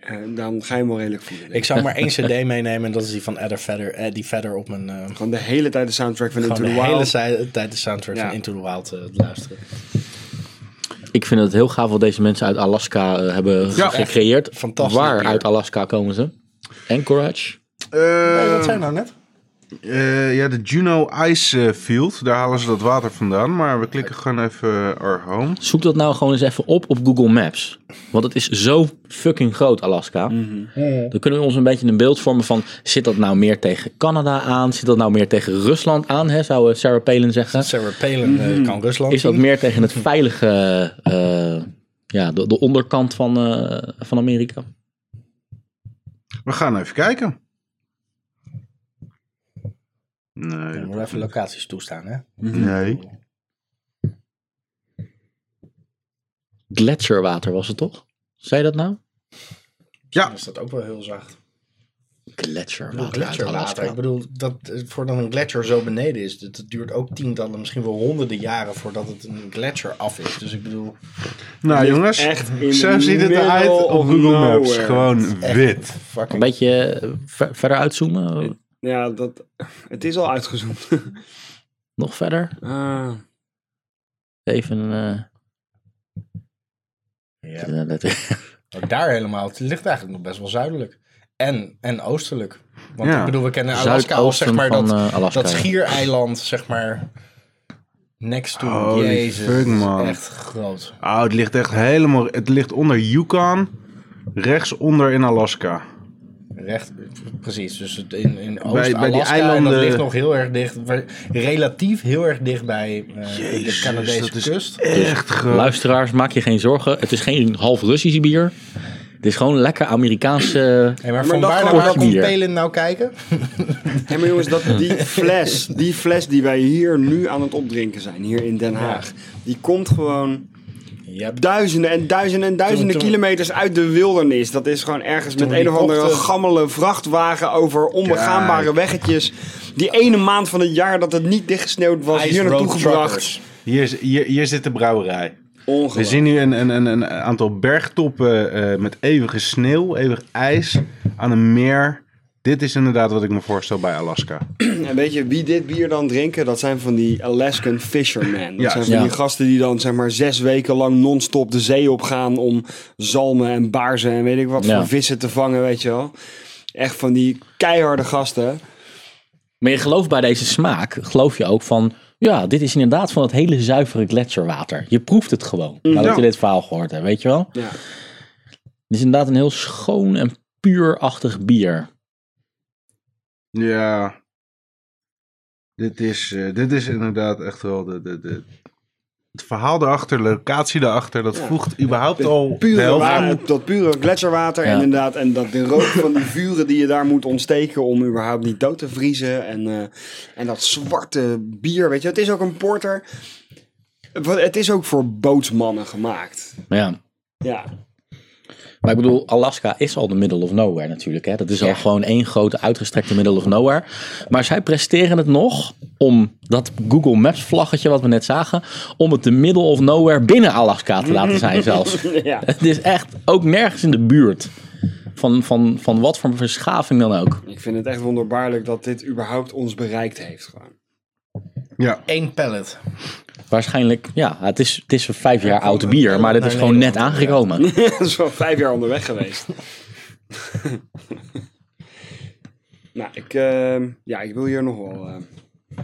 Speaker 2: eh, dan ga je hem wel redelijk voelen.
Speaker 4: Ik zou maar één cd meenemen en dat is die van Eddie Vedder, Eddie Vedder op mijn... eh,
Speaker 2: Gewoon de hele tijd de soundtrack van Into
Speaker 4: gewoon
Speaker 2: the
Speaker 4: de
Speaker 2: Wild.
Speaker 4: hele zij- tijd de soundtrack
Speaker 2: Ja.
Speaker 4: van Into the Wild eh, te luisteren.
Speaker 1: Ik vind het heel gaaf wat deze mensen uit Alaska eh, hebben ge-
Speaker 3: Ja,
Speaker 1: gecreëerd.
Speaker 4: fantastisch
Speaker 1: Waar
Speaker 4: bier.
Speaker 1: uit Alaska komen ze? Anchorage.
Speaker 4: Nee,
Speaker 3: Eh
Speaker 4: wat zijn nou net?
Speaker 3: eh, ja, de Juno Ice eh, Field. Daar halen ze dat water vandaan. Maar we klikken gewoon even eh, our home.
Speaker 1: Zoek dat nou gewoon eens even op op Google Maps. Want het is zo fucking groot, Alaska.
Speaker 4: Mhm.
Speaker 1: Dan kunnen we ons een beetje een beeld vormen van... zit dat nou meer tegen Canada aan? Zit dat nou meer tegen Rusland aan? Hè, zou eh, Sarah Palin zeggen.
Speaker 4: Sarah Palin eh, kan Rusland
Speaker 1: Mhm. Is dat
Speaker 4: zien.
Speaker 1: meer tegen het veilige... eh, ja, de, de onderkant van, eh, van Amerika?
Speaker 3: We gaan even kijken. Nee.
Speaker 4: We moeten even locaties toestaan, hè?
Speaker 3: Nee.
Speaker 1: Gletsjerwater was het toch? Zei je dat nou?
Speaker 3: Ja,
Speaker 4: Dan is dat ook wel heel zacht. Ik bedoel,
Speaker 1: Gletsjerwater uit
Speaker 4: gletsjerwater.
Speaker 1: Alaska.
Speaker 4: Ik bedoel, dat, eh, voordat een gletsjer zo beneden is, dat, dat duurt ook tientallen, misschien wel honderden jaren voordat het een gletsjer af is. Dus ik bedoel,
Speaker 3: nou jongens.
Speaker 2: echt in
Speaker 3: Zo
Speaker 2: the
Speaker 3: ziet het
Speaker 2: middle
Speaker 3: eruit op
Speaker 2: of
Speaker 3: Google Maps.
Speaker 2: nowhere.
Speaker 3: Gewoon wit.
Speaker 1: Een
Speaker 4: fucking...
Speaker 1: beetje eh, ver- verder uitzoomen?
Speaker 2: Ja, dat, het is al uitgezoomd.
Speaker 1: Nog verder?
Speaker 2: Ah,
Speaker 1: Even eh, een...
Speaker 4: Ja.
Speaker 1: eh,
Speaker 4: Ook daar helemaal. Het ligt eigenlijk nog best wel zuidelijk. En, en oostelijk. Want
Speaker 3: Ja.
Speaker 4: ik bedoel, we kennen Alaska als zeg
Speaker 1: Zuidoosten
Speaker 4: maar
Speaker 1: van,
Speaker 4: dat,
Speaker 1: eh, Alaska,
Speaker 4: dat
Speaker 1: ja.
Speaker 4: schiereiland, zeg maar, next to.
Speaker 3: Holy
Speaker 4: Jezus,
Speaker 3: fuck,
Speaker 4: dat is
Speaker 3: man.
Speaker 4: echt groot.
Speaker 3: Oh, het ligt echt helemaal... Het ligt onder Yukon. Rechtsonder in Alaska.
Speaker 4: Recht, precies. Dus het in, in
Speaker 3: bij die
Speaker 4: Oost-Alaska, en dat
Speaker 3: eilanden-
Speaker 4: ligt nog heel erg dicht, relatief heel erg dicht bij eh, de Canadese
Speaker 3: dat is
Speaker 4: kust.
Speaker 3: Echt groot.
Speaker 1: Luisteraars, maak je geen zorgen. Het is geen half Russisch bier. Het is gewoon lekker eh, Amerikaanse...
Speaker 4: Hey, maar
Speaker 2: Maar
Speaker 4: van
Speaker 2: dat
Speaker 4: waar naar
Speaker 2: grote
Speaker 4: waar komt
Speaker 1: bier.
Speaker 4: Pelin nou kijken?
Speaker 2: Hé, maar jongens, dat, die, fles, die fles die wij hier nu aan het opdrinken zijn, hier in Den Haag, die komt gewoon
Speaker 4: Ja,
Speaker 2: duizenden en duizenden en duizenden
Speaker 4: Toen- toen-
Speaker 2: kilometers uit de wildernis. Dat is gewoon ergens met
Speaker 4: we die
Speaker 2: een of andere
Speaker 4: kochten-
Speaker 2: gammele vrachtwagen over onbegaanbare
Speaker 3: Kijk.
Speaker 2: weggetjes. Die ene maand van het jaar dat het niet dichtgesneeuwd was, hier naartoe gebracht.
Speaker 3: Hier, is- hier, hier zit de brouwerij. We
Speaker 2: Ongelooflijk.
Speaker 3: zien nu een, een, een, een aantal bergtoppen eh, met eeuwige sneeuw, eeuwig ijs aan een meer. Dit is inderdaad wat ik me voorstel bij Alaska.
Speaker 2: En weet je wie dit bier dan drinken? Dat zijn van die Alaskan Fishermen. Dat
Speaker 3: Ja.
Speaker 2: zijn van
Speaker 1: Ja.
Speaker 2: die gasten die dan zeg maar zes weken lang non-stop de zee opgaan om zalmen en baarzen en weet ik wat
Speaker 1: Ja.
Speaker 2: voor vissen te vangen, weet je wel. Echt van die keiharde gasten.
Speaker 1: Maar je gelooft bij deze smaak, geloof je ook van... Ja, dit is inderdaad van het hele zuivere gletsjerwater. Je proeft het gewoon. Nadat
Speaker 3: Ja.
Speaker 1: je dit verhaal gehoord hebt, weet je wel?
Speaker 2: Ja.
Speaker 1: Het is inderdaad een heel schoon en puurachtig bier.
Speaker 3: Ja. Dit is, eh, dit is inderdaad echt wel de, de, de, het verhaal daarachter, de locatie daarachter, dat
Speaker 2: Ja.
Speaker 3: voegt überhaupt al de
Speaker 2: Pure
Speaker 3: helft
Speaker 2: wa-
Speaker 3: aan.
Speaker 2: dat pure gletsjerwater
Speaker 1: Ja.
Speaker 2: en inderdaad. En dat de rook van die vuren die je daar moet ontsteken om überhaupt niet dood te vriezen. En, eh, en dat zwarte bier, weet je. Het is ook een porter. Wat- Het is ook voor bootsmannen gemaakt.
Speaker 1: Maar ja.
Speaker 2: Ja,
Speaker 1: Maar ik bedoel, Alaska is al de middle of nowhere natuurlijk. Hè? Dat is al gewoon één grote uitgestrekte middle of nowhere. Maar zij presteren het nog om dat Google Maps vlaggetje wat we net zagen... om het de middle of nowhere binnen Alaska te laten zijn zelfs.
Speaker 2: ja.
Speaker 1: Het is echt ook nergens in de buurt. Van, van, van wat voor verschaving dan ook.
Speaker 2: Ik vind het echt wonderbaarlijk dat dit überhaupt ons bereikt heeft. Gewoon.
Speaker 3: Ja.
Speaker 4: Eén pallet.
Speaker 1: Waarschijnlijk, ja, het is, het is een vijf jaar oud bier, maar dit is
Speaker 4: Naar
Speaker 1: gewoon net
Speaker 4: Nederland, ja.
Speaker 1: aangekomen.
Speaker 2: dat is wel vijf jaar onderweg geweest. nou, ik, eh, ja, ik wil hier nog wel eh,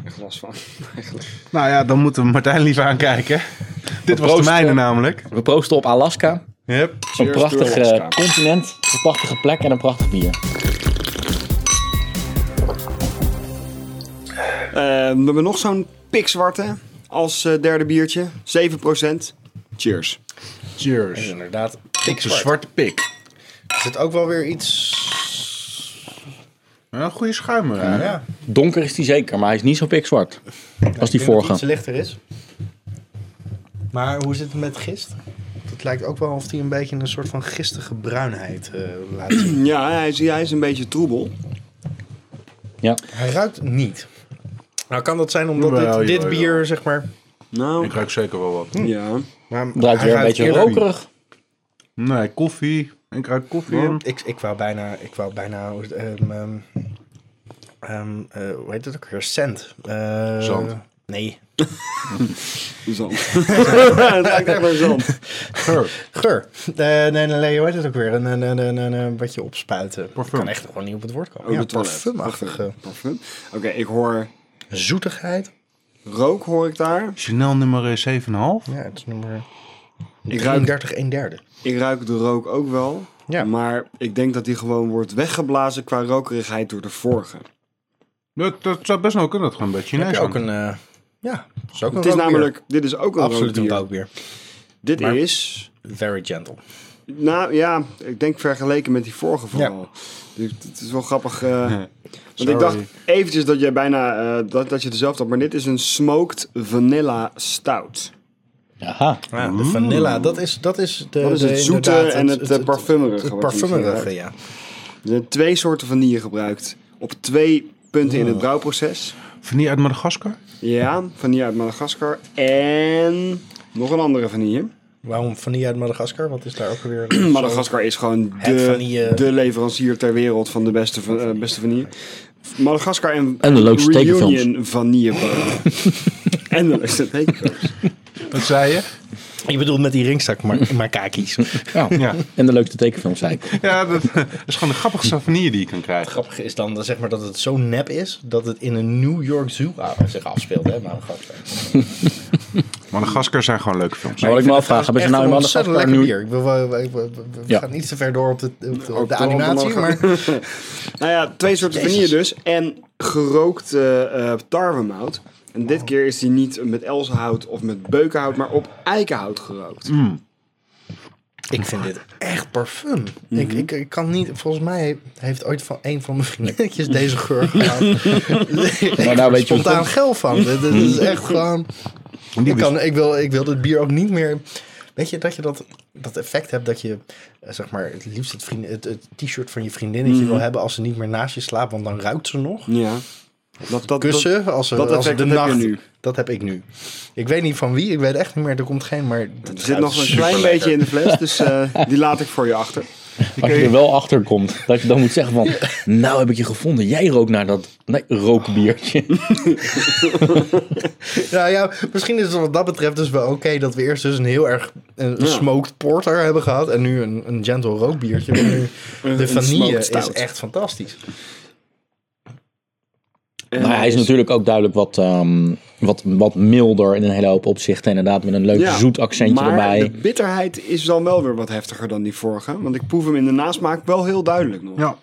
Speaker 2: een glas van. eigenlijk.
Speaker 3: Nou ja, dan moeten we Martijn liever aankijken. Dit was de
Speaker 1: Proost,
Speaker 3: mijne
Speaker 1: eh.
Speaker 3: namelijk.
Speaker 1: We proosten op Alaska.
Speaker 3: Yep.
Speaker 1: Een
Speaker 2: Cheers to
Speaker 1: prachtig
Speaker 2: Alaska.
Speaker 1: eh, continent, een prachtige plek en een prachtig bier.
Speaker 2: Eh, we hebben nog zo'n pikzwarte als eh, derde biertje. 7%. Cheers.
Speaker 4: Dus
Speaker 3: Cheers.
Speaker 4: inderdaad,
Speaker 3: Ik
Speaker 4: ik
Speaker 3: de
Speaker 4: zwart.
Speaker 3: zwarte pik.
Speaker 4: Er zit ook wel weer iets...
Speaker 3: Ja, Een goede schuim. eh.
Speaker 4: Ja,
Speaker 1: Donker is die zeker, maar hij is niet zo pikzwart als die vorige.
Speaker 4: iets lichter is. Maar hoe zit het met gist? Het lijkt ook wel of die een beetje een soort van gistige bruinheid eh, laat zien.
Speaker 2: Ja, hij is, hij is een beetje troebel.
Speaker 1: Ja.
Speaker 4: Hij ruikt niet. Nou kan dat zijn omdat
Speaker 3: Jawel,
Speaker 4: dit, dit
Speaker 3: jawel,
Speaker 4: bier, zeg maar...
Speaker 2: Nou,
Speaker 3: Ik ruik zeker wel wat.
Speaker 2: ja.
Speaker 4: maar
Speaker 1: Het ruikt
Speaker 4: hij
Speaker 1: weer een beetje
Speaker 4: eerder-
Speaker 1: rokerig.
Speaker 3: Nee, koffie. Ik ruik koffie in.
Speaker 4: Ik, ik wou bijna, ik wou bijna, ehm, ehm, ehm, eh, hoe heet het ook weer? Cent. Eh,
Speaker 3: Zand.
Speaker 4: Nee.
Speaker 2: Zand. Het ruikt echt naar zand.
Speaker 3: Geur.
Speaker 4: Geur. Eh, nee, nee, nee, hoe heet het ook weer? Een, een, een, een, een, een- wat je opspuiten. Ik
Speaker 3: Parfum.
Speaker 4: kan echt gewoon niet op het woord komen.
Speaker 2: Oh,
Speaker 4: ja,
Speaker 2: de toilet.
Speaker 4: parfumachtige
Speaker 2: Parfum. Oké, ik hoor
Speaker 4: zoetigheid.
Speaker 2: rook hoor ik daar.
Speaker 3: Chanel nummer eh, 7,5.
Speaker 4: Ja, het is nummer
Speaker 2: Ik ruik
Speaker 4: 33, 1 derde.
Speaker 2: Ik ruik de rook ook wel.
Speaker 4: Ja.
Speaker 2: Maar ik denk dat die gewoon wordt weggeblazen qua rokerigheid door de vorige.
Speaker 3: Dat, dat zou best wel kunnen. Dat gewoon een beetje
Speaker 4: Heb
Speaker 3: Chinees
Speaker 4: je ook
Speaker 3: zijn.
Speaker 4: een, eh, ja, is ook een
Speaker 2: Het is
Speaker 4: rookbier.
Speaker 2: namelijk, dit is ook een
Speaker 4: absoluut een
Speaker 2: rookbier.
Speaker 4: rookbier.
Speaker 2: Dit
Speaker 4: Maar-
Speaker 2: is,
Speaker 4: Very gentle.
Speaker 2: nou ja, ik denk vergeleken met die vorige vooral. Dus Het is wel grappig. eh, want ik dacht
Speaker 3: sorry.
Speaker 2: eventjes dat jij bijna, eh, dat, dat je dezelfde had. Maar dit is een smoked vanilla stout.
Speaker 1: Aha.
Speaker 4: Ja, de vanilla, dat is, dat is, de,
Speaker 2: Mm. Dat is het
Speaker 4: de-
Speaker 2: zoete
Speaker 4: inderdaad,
Speaker 2: en het, eh, parfumerige
Speaker 4: Het
Speaker 2: wat je
Speaker 4: parfumerige,
Speaker 2: misschien
Speaker 4: ja.
Speaker 2: Er zijn twee soorten vanille gebruikt. Op twee punten in het brouwproces.
Speaker 3: Vanille uit Madagaskar?
Speaker 2: Ja, vanille uit Madagaskar. En nog een andere vanille.
Speaker 4: Waarom vanille uit Madagaskar? Wat is daar ook weer?
Speaker 2: Madagaskar is gewoon
Speaker 4: Het
Speaker 2: de,
Speaker 4: vanille-
Speaker 2: de leverancier ter wereld van de beste, van, eh, beste vanille. Madagaskar en,
Speaker 1: En de leukste tekenfilms.
Speaker 2: Reunion vanillebonen. en de leukste tekenfilms.
Speaker 3: Wat zei je?
Speaker 4: Je bedoelt met die ringstak maar, maar kakies.
Speaker 1: Ja.
Speaker 3: Ja.
Speaker 1: En de leukste tekenfilm zei ik.
Speaker 3: Ja, dat is gewoon de grappigste vanille die je kan krijgen.
Speaker 4: Grappig is dan dat, zeg maar, dat het zo nep is dat het in een New York Zoo a- zich afspeelt, hè, Madagaskar.
Speaker 3: Madagaskar zijn gewoon leuke films.
Speaker 1: Maar wat ik me afvraag, hebben ze nou in
Speaker 4: ontzettend
Speaker 1: Madagaskar
Speaker 4: lekker
Speaker 1: nu...
Speaker 4: bier. Ik bedoel, we we- we- we- we
Speaker 1: Ja.
Speaker 4: gaan niet te ver door op de, op de- op
Speaker 2: Ook
Speaker 4: de
Speaker 2: door op de
Speaker 4: animatie, maar
Speaker 2: Madagaskar. Nou ja, twee soorten vanille dus. En gerookt eh, eh, tarwemout. En dit keer is die niet met elzenhout of met beukenhout, maar op eikenhout gerookt.
Speaker 1: Hmm.
Speaker 4: ik vind dit echt parfum.
Speaker 2: Mhm.
Speaker 4: ik, ik, ik kan niet, volgens mij heeft ooit van een van mijn vriendinnetjes deze geur
Speaker 2: Nou,
Speaker 4: gehad.
Speaker 1: Maar nou weet je hoe het
Speaker 4: spontaan geld van. Dit, dit is
Speaker 2: Mhm.
Speaker 4: echt gewoon. Ik, kan, ik, wil, ik wil dit bier ook niet meer. Weet je dat je dat, dat effect hebt dat je eh, zeg maar het liefst het, vriend, het, het t-shirt van je vriendinnetje
Speaker 2: Mhm.
Speaker 4: wil hebben als ze niet meer naast je slaapt, want dan ruikt ze nog.
Speaker 2: Ja. Dat, dat,
Speaker 4: Kussen als, ze,
Speaker 1: eh,
Speaker 2: dat
Speaker 4: als
Speaker 2: effect
Speaker 4: de
Speaker 2: heb je
Speaker 4: nacht.
Speaker 2: nu.
Speaker 4: Dat heb ik nu. Ik weet niet van wie, ik weet echt niet meer. Er komt geen, maar.
Speaker 2: Er zit nog een klein beetje in de fles, dus eh, die laat ik voor je achter.
Speaker 1: Als je er wel achter komt, dat je dan moet zeggen van... Nou heb ik je gevonden, jij rookt naar dat nee, rookbiertje.
Speaker 4: Nou ja, misschien is het wat dat betreft dus wel oké dat we eerst dus een heel erg een
Speaker 2: Ja.
Speaker 4: smoked porter hebben gehad en nu een, een gentle rookbiertje. want nu
Speaker 2: Een-
Speaker 4: de
Speaker 2: een
Speaker 4: vanille
Speaker 2: smoked
Speaker 4: is
Speaker 2: stout.
Speaker 4: echt fantastisch.
Speaker 2: En
Speaker 1: Maar hij is natuurlijk ook duidelijk wat, ehm, wat, wat milder in een hele hoop opzichten. Inderdaad, met een leuk
Speaker 2: Ja,
Speaker 1: zoet accentje
Speaker 2: maar
Speaker 1: erbij.
Speaker 2: de bitterheid is dan wel weer wat heftiger dan die vorige. Want ik proef hem in de nasmaak wel heel duidelijk nog.
Speaker 3: Ja.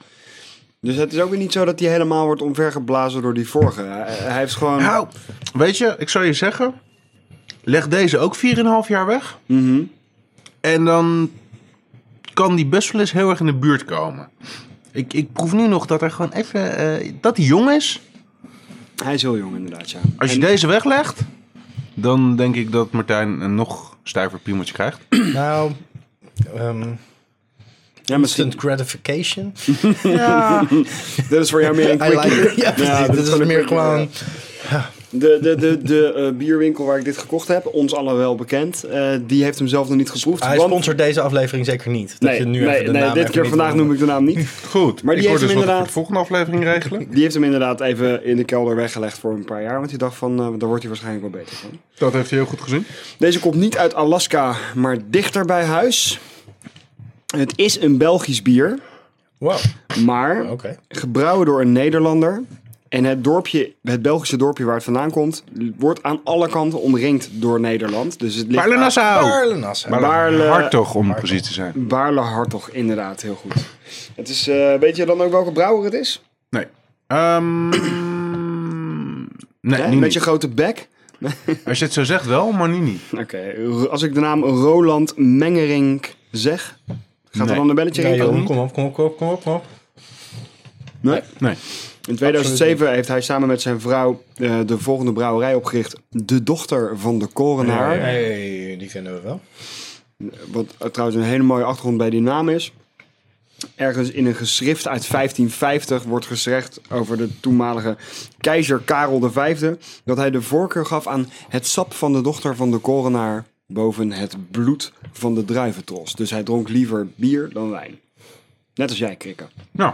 Speaker 2: Dus het is ook weer niet zo dat hij helemaal wordt omvergeblazen door die vorige. Hij, hij heeft gewoon...
Speaker 3: Nou, weet je, ik zou je zeggen. Leg deze ook 4,5 jaar weg.
Speaker 2: Mhm.
Speaker 3: En dan kan die best wel eens heel erg in de buurt komen. Ik, ik proef nu nog dat hij gewoon even. eh, dat hij jong is.
Speaker 2: Hij is heel jong inderdaad, ja.
Speaker 3: Als je
Speaker 2: En-
Speaker 3: deze weglegt, dan denk ik dat Martijn een nog stijver piemeltje krijgt.
Speaker 4: Nou, ehm
Speaker 2: ja, misschien,
Speaker 4: instant gratification.
Speaker 2: dit is voor jou meer een
Speaker 4: I
Speaker 2: quickie.
Speaker 4: like it. Ja,
Speaker 2: Ja,
Speaker 4: dit is
Speaker 2: een
Speaker 4: meer
Speaker 2: quickie,
Speaker 4: gewoon...
Speaker 2: ja. De, de, de, de eh, bierwinkel waar ik dit gekocht heb, ons allen wel bekend, eh, die heeft hem zelf nog niet geproefd.
Speaker 4: Hij
Speaker 2: want-
Speaker 4: sponsort deze aflevering zeker niet. Dat
Speaker 2: Nee,
Speaker 4: je nu
Speaker 2: nee,
Speaker 4: even de
Speaker 2: nee
Speaker 4: naam
Speaker 2: dit
Speaker 4: even
Speaker 2: keer
Speaker 4: niet
Speaker 2: vandaag
Speaker 4: noemt.
Speaker 2: noem ik de naam niet.
Speaker 3: Goed,
Speaker 2: Maar die heeft
Speaker 3: ik hoor
Speaker 2: hem
Speaker 3: dus wat we voor
Speaker 2: inderdaad-
Speaker 3: de volgende aflevering regelen.
Speaker 2: Die heeft hem inderdaad even in de kelder weggelegd voor een paar jaar. Want die dacht van, eh, daar wordt hij waarschijnlijk wel beter van.
Speaker 3: Dat heeft hij heel goed gezien.
Speaker 2: Deze komt niet uit Alaska, maar dichter bij huis. Het is een Belgisch bier,
Speaker 4: Wow,
Speaker 2: maar
Speaker 4: oké.
Speaker 2: gebrouwen door een Nederlander. En het dorpje, het Belgische dorpje waar het vandaan komt, wordt aan alle kanten omringd door Nederland. Dus het ligt
Speaker 3: Paarle Nassau!
Speaker 4: Paarle Nassau.
Speaker 2: Baarle-
Speaker 3: Hartog om precies te zijn.
Speaker 2: Baarle Hartog, inderdaad, heel goed. Het is, eh, weet je dan ook welke brouwer het is?
Speaker 3: Nee. Ehm, nee,
Speaker 2: Hè?
Speaker 3: nu
Speaker 2: Met
Speaker 3: niet.
Speaker 2: je grote bek?
Speaker 3: Als je het zo zegt wel, maar nu niet.
Speaker 2: Oké, als ik de naam Roland Mengerink zeg, gaat
Speaker 3: Nee.
Speaker 2: er dan een belletje
Speaker 4: Nee,
Speaker 2: rinkelen?
Speaker 4: joh, kom op, kom op, kom op, kom op, kom op.
Speaker 2: Nee.
Speaker 3: Nee.
Speaker 2: In 2007 heeft hij samen met zijn vrouw eh, de volgende brouwerij opgericht. De dochter van de korenaar.
Speaker 4: Nee, die kennen we wel.
Speaker 2: Wat eh, trouwens een hele mooie achtergrond bij die naam is. Ergens in een geschrift uit 1550 wordt gezegd over de toenmalige keizer Karel V. dat hij de voorkeur gaf aan het sap van de dochter van de korenaar boven het bloed van de druiventros. Dus hij dronk liever bier dan wijn. Net als jij, Krikke.
Speaker 3: Nou,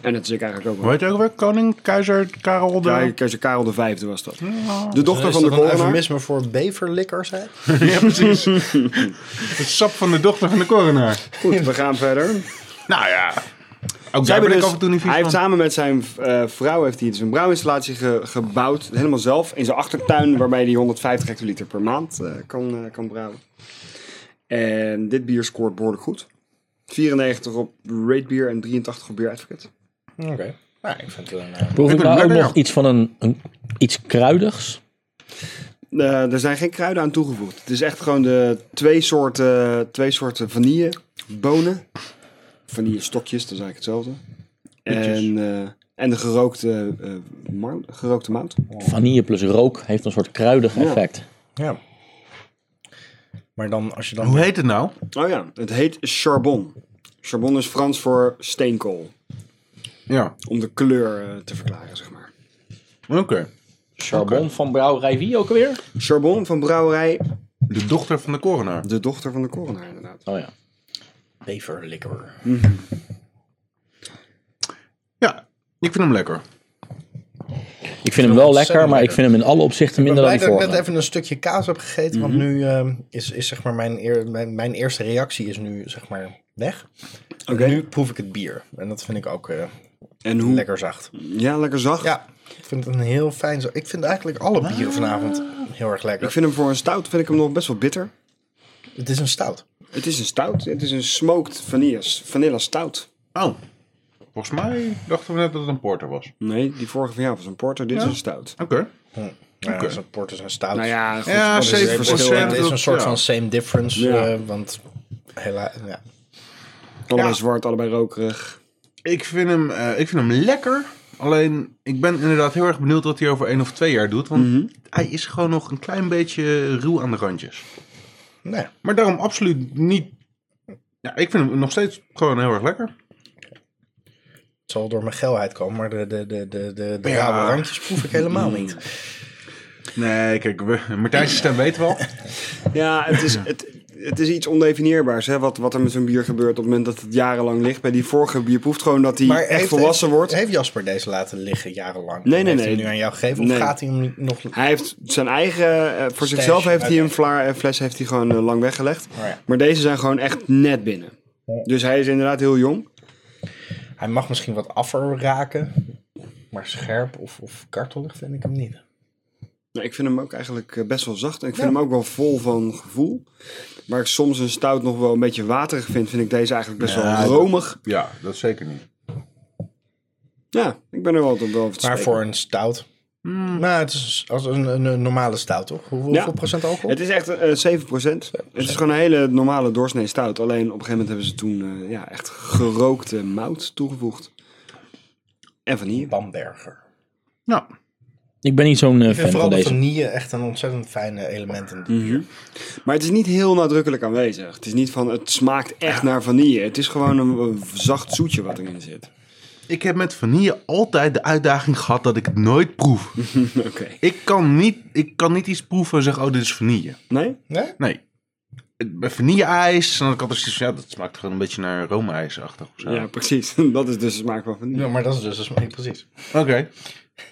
Speaker 2: En dat is ik eigenlijk ook
Speaker 3: hoe
Speaker 2: wel.
Speaker 3: heet hij ook weer? Koning, keizer, Karel de...
Speaker 2: Ja, Keizer Karel V was dat. De dochter
Speaker 4: Is
Speaker 2: van de
Speaker 4: dat een
Speaker 2: korenaar.
Speaker 4: eufemisme voor beverlikkers, hè?
Speaker 3: Ja, precies. Het sap van de dochter van de coronaar.
Speaker 2: Goed, we gaan verder.
Speaker 3: Nou ja. Ook
Speaker 2: Zij
Speaker 3: daar ben
Speaker 2: hebben
Speaker 3: ik
Speaker 2: dus-
Speaker 3: af en toe niet vies
Speaker 2: hij heeft
Speaker 3: van.
Speaker 2: samen met zijn eh, vrouw heeft hij dus een brouwinstallatie ge- gebouwd. Helemaal zelf in zijn achtertuin, waarbij hij 150 hectoliter per maand eh, kan, eh, kan brouwen. En dit bier scoort behoorlijk goed. 94 op Rate Beer en 83 op Beer Advocate.
Speaker 4: Oké. Nou, ik vind het een... eh,
Speaker 1: Proef
Speaker 3: Ik
Speaker 1: ik
Speaker 3: vind
Speaker 1: nou
Speaker 3: het
Speaker 1: ook
Speaker 3: lekker,
Speaker 1: nog iets van een, een iets kruidigs?
Speaker 2: Eh, er zijn geen kruiden aan toegevoegd. Het is echt gewoon de twee soorten, twee soorten vanille, bonen. Vanille stokjes, dat is eigenlijk hetzelfde. En, eh, en de gerookte, eh, mar- gerookte mout.
Speaker 1: Vanille plus rook heeft een soort kruidig
Speaker 2: Ja.
Speaker 1: effect.
Speaker 4: Ja. Maar dan, als je dan...
Speaker 3: Hoe heet het nou?
Speaker 2: Oh ja, het heet charbon. Charbon is Frans voor steenkool.
Speaker 3: Ja,
Speaker 2: Om de kleur eh, te verklaren, zeg maar.
Speaker 3: oké.
Speaker 1: Charbon van brouwerij wie ook weer?
Speaker 2: Charbon van brouwerij
Speaker 3: De dochter van de coronaar.
Speaker 2: De Dochter van de Coronaar, inderdaad.
Speaker 1: Oh ja.
Speaker 4: Beverlikker.
Speaker 3: Ja, ik vind hem lekker.
Speaker 1: Ik vind hem wel
Speaker 4: ontzettend
Speaker 1: lekker, maar ik
Speaker 4: lekker.
Speaker 1: vind hem in alle opzichten
Speaker 4: Ik ben
Speaker 1: minder dan
Speaker 4: blij
Speaker 1: die
Speaker 4: dat ik net
Speaker 1: vorige.
Speaker 4: even een stukje kaas heb gegeten. Want nu ehm, is, is zeg maar mijn, eer- mijn, mijn eerste reactie is nu zeg maar weg. Oké. Nu proef ik het bier. En dat vind ik ook eh,
Speaker 2: En hoe?
Speaker 4: lekker zacht.
Speaker 2: Ja, lekker zacht.
Speaker 4: Ja, ik vind het een heel fijn... za- Ik vind eigenlijk alle bieren vanavond heel erg lekker.
Speaker 2: Ik vind hem voor een stout vind ik hem nog best wel bitter.
Speaker 4: Het is een stout.
Speaker 2: Het is een stout. Het is een smoked vanille, vanilla stout.
Speaker 3: Oh, volgens mij dachten we net dat het een porter was.
Speaker 2: Nee, die vorige van jou was een porter. Dit is een stout.
Speaker 3: Oké.
Speaker 4: Ja,
Speaker 3: Oké.
Speaker 4: dus een port is een stout.
Speaker 2: Nou ja, goed.
Speaker 3: Ja,
Speaker 2: wat is
Speaker 3: zeven
Speaker 2: het
Speaker 4: Het
Speaker 2: verschil?
Speaker 4: verschil- het is
Speaker 3: Ja.
Speaker 4: een soort van same difference.
Speaker 2: Ja.
Speaker 4: eh, want helaas... Ja.
Speaker 2: Allebei
Speaker 3: Ja.
Speaker 2: zwart, allebei rokerig.
Speaker 3: Ik vind, hem, eh, ik vind hem lekker. Alleen, ik ben inderdaad heel erg benieuwd wat hij over één of twee jaar doet. Want hij is gewoon nog een klein beetje ruw aan de randjes.
Speaker 4: Nee.
Speaker 3: Maar daarom absoluut niet... Ja, ik vind hem nog steeds gewoon heel erg lekker.
Speaker 4: Het zal door mijn geilheid komen, maar de, de, de, de, de, de
Speaker 3: Ja.
Speaker 4: rauwe randjes proef ik helemaal niet.
Speaker 3: Nee, kijk, we, Martijn's stem weet wel.
Speaker 2: Ja, het is, het, het is iets ondefinieerbaars hè, wat, wat er met zo'n bier gebeurt op het moment dat het jarenlang ligt. Bij die vorige bier proeft gewoon dat hij
Speaker 4: Maar
Speaker 2: echt
Speaker 4: heeft-
Speaker 2: volwassen
Speaker 4: heeft-
Speaker 2: wordt.
Speaker 4: Heeft Jasper deze laten liggen jarenlang?
Speaker 2: Nee, nee,
Speaker 4: Heeft hij
Speaker 2: nee.
Speaker 4: hem nu aan jou gegeven of
Speaker 2: Nee.
Speaker 4: gaat hij hem nog... Oh
Speaker 2: Hij heeft zijn eigen, eh, voor zichzelf heeft hij
Speaker 4: oké. Oh,
Speaker 2: een flaar, eh, fles heeft hij gewoon eh, lang weggelegd.
Speaker 4: ja.
Speaker 2: Maar deze zijn gewoon echt net binnen. Dus hij is inderdaad heel jong.
Speaker 4: Hij mag misschien wat affer raken. Maar scherp of, of kartelig vind ik hem niet.
Speaker 2: Nou, ik vind hem ook eigenlijk eh, best wel zacht. En ik vind hem ook wel vol van gevoel. Waar ik soms een stout nog wel een beetje waterig vind, vind ik deze eigenlijk best
Speaker 3: Ja,
Speaker 2: wel romig.
Speaker 3: Ja, dat zeker niet.
Speaker 2: Ja, ik ben er wel altijd wel over te
Speaker 4: Maar
Speaker 2: spreken.
Speaker 4: voor een stout. Nou, het is als een, een, een normale stout, toch? Hoe- Hoeveel
Speaker 2: Ja.
Speaker 4: procent alcohol?
Speaker 2: Het is echt eh 7%. Het is gewoon een hele normale doorsnee stout. Alleen op een gegeven moment hebben ze toen eh, ja, echt gerookte mout toegevoegd. En vanille.
Speaker 4: Bamberger.
Speaker 3: Nou,
Speaker 1: Ik ben niet zo'n eh,
Speaker 4: Ik vind
Speaker 1: fan
Speaker 4: vooral
Speaker 1: van
Speaker 4: de
Speaker 1: deze.
Speaker 4: vanille echt een ontzettend fijne element. In die.
Speaker 2: Mhm. Maar het is niet heel nadrukkelijk aanwezig. Het is niet van het smaakt echt naar vanille. Het is gewoon een, eh, zacht zoetje wat erin zit.
Speaker 3: ik heb met vanille altijd de uitdaging gehad dat ik het nooit proef.
Speaker 2: Oké.
Speaker 3: ik, kan niet, ik kan niet iets proeven en zeggen, oh, dit is vanille.
Speaker 2: Nee?
Speaker 4: Nee?
Speaker 3: Nee. Bij vanille-ijs, dan had ik altijd zoiets van, ja, dat smaakt gewoon een beetje naar roomijsachtig of zo.
Speaker 2: Ja, precies. Dat is dus de smaak van vanille.
Speaker 4: Ja, maar dat is dus nee, precies.
Speaker 3: Oké.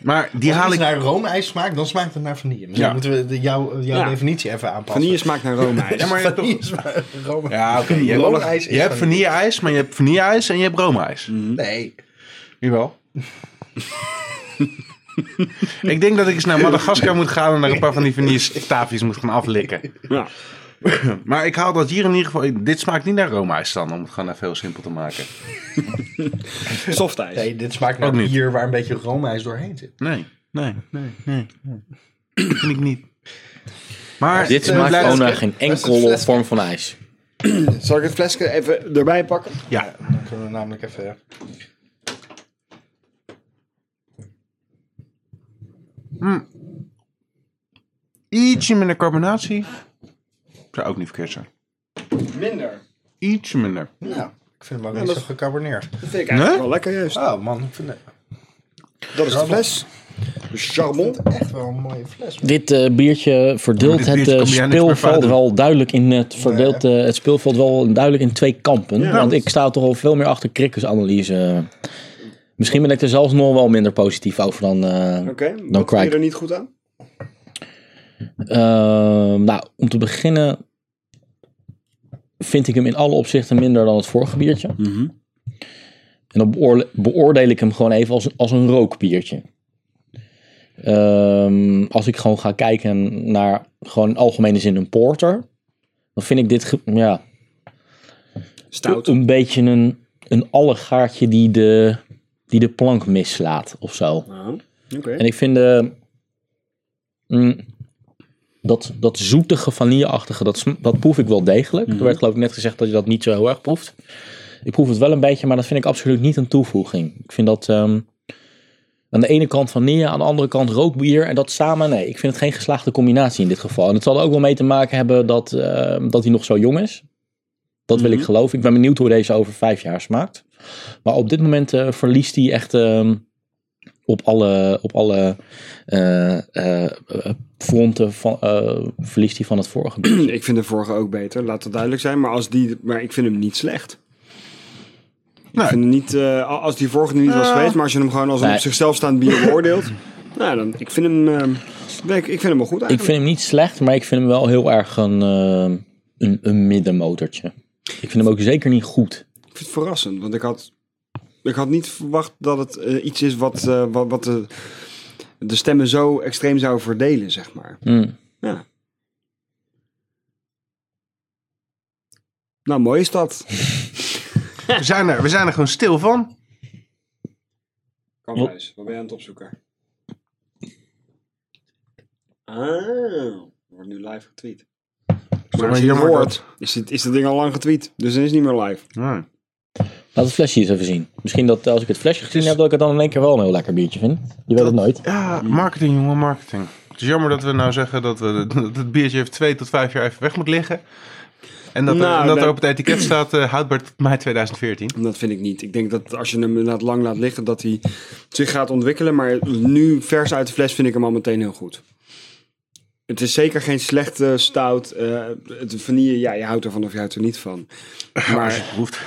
Speaker 3: Maar die
Speaker 4: Als
Speaker 3: haal ik...
Speaker 4: het naar roomijs smaakt, dan smaakt het naar vanille. Misschien
Speaker 3: Ja.
Speaker 4: moeten we de, jouw, jouw
Speaker 2: Ja.
Speaker 4: definitie even aanpassen.
Speaker 2: Vanille smaakt naar roomijs.
Speaker 3: Ja, maar je hebt toch-
Speaker 4: Vanille smaakt roomijs.
Speaker 3: Ja, oké. Je, hebt-
Speaker 4: Roomijs is
Speaker 3: je hebt
Speaker 4: vanille.
Speaker 3: vanille-ijs, maar je hebt vanille-ijs en je hebt roomijs.
Speaker 2: Mhm.
Speaker 4: Nee.
Speaker 3: Jawel. ik denk dat ik eens naar Madagaskar moet gaan en daar een paar van die vanille-staafjes moet gaan aflikken.
Speaker 2: Ja.
Speaker 3: Maar ik haal dat hier in ieder geval... Dit smaakt niet naar roomijs dan, om het gewoon even heel simpel te maken.
Speaker 2: Softijs.
Speaker 4: nee, dit smaakt
Speaker 3: Ook
Speaker 4: naar
Speaker 3: niet.
Speaker 4: bier waar een beetje roomijs doorheen zit.
Speaker 3: Nee, nee, nee, nee. nee. vind ik niet. Maar
Speaker 1: Dit
Speaker 3: eh,
Speaker 1: smaakt
Speaker 3: blijf-
Speaker 1: gewoon naar geen enkel vorm van ijs.
Speaker 2: Zal ik het flesje even erbij pakken?
Speaker 3: Ja,
Speaker 4: Dan kunnen we namelijk even...
Speaker 3: ietsje minder carbonatie. Zou ook niet verkeerd zijn.
Speaker 2: Minder.
Speaker 3: Ietsje minder.
Speaker 4: Nou, ik vind hem ook
Speaker 2: Ja,
Speaker 4: niet
Speaker 2: dat-
Speaker 4: zo gecarboneerd.
Speaker 2: Dat vind ik eigenlijk
Speaker 3: Nee?
Speaker 2: wel lekker juist.
Speaker 4: Oh man, ik vind het
Speaker 2: Dat is de fles. De charbon.
Speaker 4: echt wel een mooie fles.
Speaker 1: Dit eh, biertje verdeelt
Speaker 3: Met dit biertje
Speaker 1: het eh,
Speaker 3: kan jij niks meer fout
Speaker 1: speelveld
Speaker 3: doen.
Speaker 1: wel duidelijk in het verdeelt eh, het speelveld wel duidelijk in twee kampen.
Speaker 2: Ja.
Speaker 1: want ik sta toch al veel meer achter Krikkers analyse. Misschien ben ik er zelfs nog wel minder positief over dan. eh,
Speaker 2: Oké,
Speaker 1: Dan
Speaker 2: wat vind je
Speaker 1: Crike.
Speaker 2: er niet goed aan?
Speaker 1: ehm, nou, om te beginnen vind ik hem in alle opzichten minder dan het vorige biertje. En dan beoorle- beoordeel ik hem gewoon even als, als een rookbiertje. Ehm, als ik gewoon ga kijken naar gewoon in algemene zin een porter, dan vind ik dit ge- ja,
Speaker 2: Stout.
Speaker 1: een beetje een, een allegaartje die de, die de plank mislaat of zo.
Speaker 2: Ah, Oké.
Speaker 1: En ik vind de, mm, dat, dat zoetige, vanilleachtige, dat, sm- dat proef ik wel degelijk. Er werd geloof ik net gezegd dat je dat niet zo heel erg proeft. Ik proef het wel een beetje, maar dat vind ik absoluut niet een toevoeging. Ik vind dat ehm, aan de ene kant vanille, aan de andere kant rookbier en dat samen, nee. Ik vind het geen geslaagde combinatie in dit geval. En het zal er ook wel mee te maken hebben dat, ehm, dat hij nog zo jong is. Dat wil ik geloven. Ik ben benieuwd hoe deze over vijf jaar smaakt. Maar op dit moment eh, verliest hij echt... ehm, op alle, op alle eh, eh, eh, fronten van, eh, verliest hij van het vorige. bier.
Speaker 2: Ik vind de vorige ook beter, laat dat duidelijk zijn. Maar, als die, maar ik vind hem niet slecht.
Speaker 3: Nee.
Speaker 2: Ik vind hem niet, eh, als die vorige niet was geweest, maar als je hem gewoon als een
Speaker 1: Eh. Nee.
Speaker 2: op zichzelf staand bier beoordeelt. nou, dan, ik vind hem, ehm, nee, ik, ik vind hem wel goed
Speaker 1: Ik
Speaker 2: eigenlijk.
Speaker 1: vind hem niet slecht, maar ik vind hem wel heel erg een, eh, een, een middenmotortje. Ik vind hem ook zeker niet goed.
Speaker 2: Ik vind, het verrassend, want ik had, ik had niet verwacht dat het eh, iets is wat, eh, wat, wat de, de stemmen zo extreem zou verdelen, zeg maar.
Speaker 1: Mm.
Speaker 2: Ja. Nou, mooi is dat.
Speaker 3: we zijn, er, we zijn er gewoon stil van.
Speaker 2: Kamphuis, wat ben je aan het opzoeken? Ah, wordt nu live getweet. Maar als je het
Speaker 3: jammer
Speaker 2: hoort, is het, is het ding al lang getweet. Dus dan is het niet meer live.
Speaker 3: Nee.
Speaker 1: Laat het flesje eens even zien. Misschien dat eh, als ik het flesje gezien heb, dat ik het dan in één keer wel een heel lekker biertje vind. Je weet het nooit.
Speaker 3: Ja, marketing, jongen, marketing. mm. Het is jammer dat we nou zeggen dat, we, dat het biertje heeft twee tot vijf jaar even weg moet liggen. En dat, er,
Speaker 2: Nou,
Speaker 3: en dat
Speaker 2: nee.
Speaker 3: er op het etiket staat eh, houdbaar tot mei 2014.
Speaker 2: Dat vind ik niet. Ik denk dat als je hem inderdaad lang laat liggen, dat hij zich gaat ontwikkelen. Maar nu, vers uit de fles, vind ik hem al meteen heel goed. Het is zeker geen slechte stout. eh het vanille, ja, je houdt ervan of je houdt er niet van. Maar
Speaker 3: Proeft.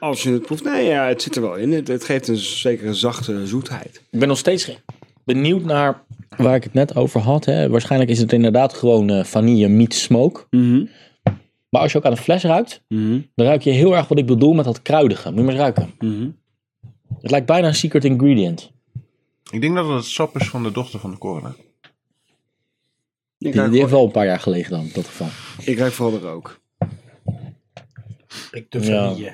Speaker 2: Als je het proeft, nee, ja, het zit er wel in. Het, het geeft een zekere zachte zoetheid.
Speaker 1: Ik ben nog steeds ge- benieuwd naar waar ik het net over had. Hè. Waarschijnlijk is het inderdaad gewoon eh, vanille meets smoke.
Speaker 3: Mhm.
Speaker 1: Maar als je ook aan de fles ruikt,
Speaker 2: Mhm,
Speaker 1: Dan ruik je heel erg wat ik bedoel met dat kruidige. Moet je maar eens ruiken. Het lijkt bijna een secret ingredient.
Speaker 3: Ik denk dat het het sap is van de dochter van de coroner.
Speaker 2: Ik
Speaker 1: Die,
Speaker 2: ruik,
Speaker 1: die heeft wel een paar jaar gelegen dan, in dat geval.
Speaker 2: ik ruik vooral de rook.
Speaker 4: Ik de
Speaker 1: Ja.
Speaker 4: vanille.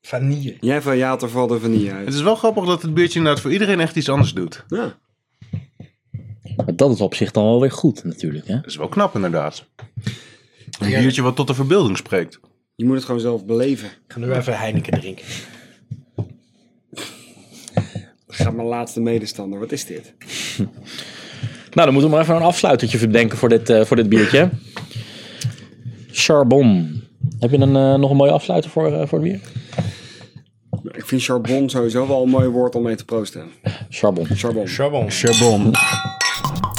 Speaker 4: Vanille.
Speaker 2: Jij van ja, had er vooral de vanille uit.
Speaker 3: Het is wel grappig dat het biertje inderdaad voor iedereen echt iets anders doet.
Speaker 2: Ja.
Speaker 1: Maar dat is op zich dan wel weer goed, natuurlijk. Hè?
Speaker 3: Dat is wel knap inderdaad. Een biertje wat tot de verbeelding spreekt.
Speaker 2: Je moet het gewoon zelf beleven.
Speaker 4: Ik ga nu even Heineken drinken.
Speaker 2: Ga mijn laatste medestander. Wat is dit?
Speaker 1: Nou, dan moeten we maar even een afsluitertje verdenken voor dit, eh, voor dit biertje. Charbon. Heb je een, eh, nog een mooie afsluiter voor, eh, voor het bier?
Speaker 2: Ik vind charbon sowieso wel een mooi woord om mee te proosten.
Speaker 1: Charbon.
Speaker 2: Charbon.
Speaker 4: Charbon.
Speaker 3: Charbon.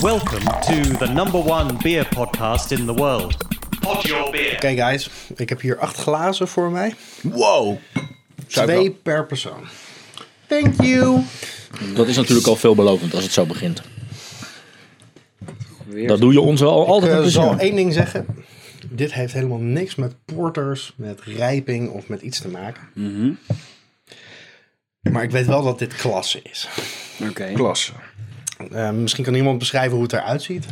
Speaker 5: Welcome to the number one beer podcast in the world. Pod your beer.
Speaker 4: Oké guys, ik heb hier acht glazen voor mij.
Speaker 3: Wow. Suiker.
Speaker 4: Twee per persoon. Thank you.
Speaker 1: Dat is natuurlijk al veelbelovend als het zo begint.
Speaker 2: Weer.
Speaker 1: Dat doe je ons wel altijd een
Speaker 4: Ik eh, zal
Speaker 1: plezier.
Speaker 4: één ding zeggen. Dit heeft helemaal niks met porters, met rijping of met iets te maken.
Speaker 3: Mhm.
Speaker 4: Maar ik weet wel dat dit klasse is.
Speaker 2: Oké.
Speaker 3: Klasse.
Speaker 4: Eh, misschien kan iemand beschrijven hoe het eruit ziet.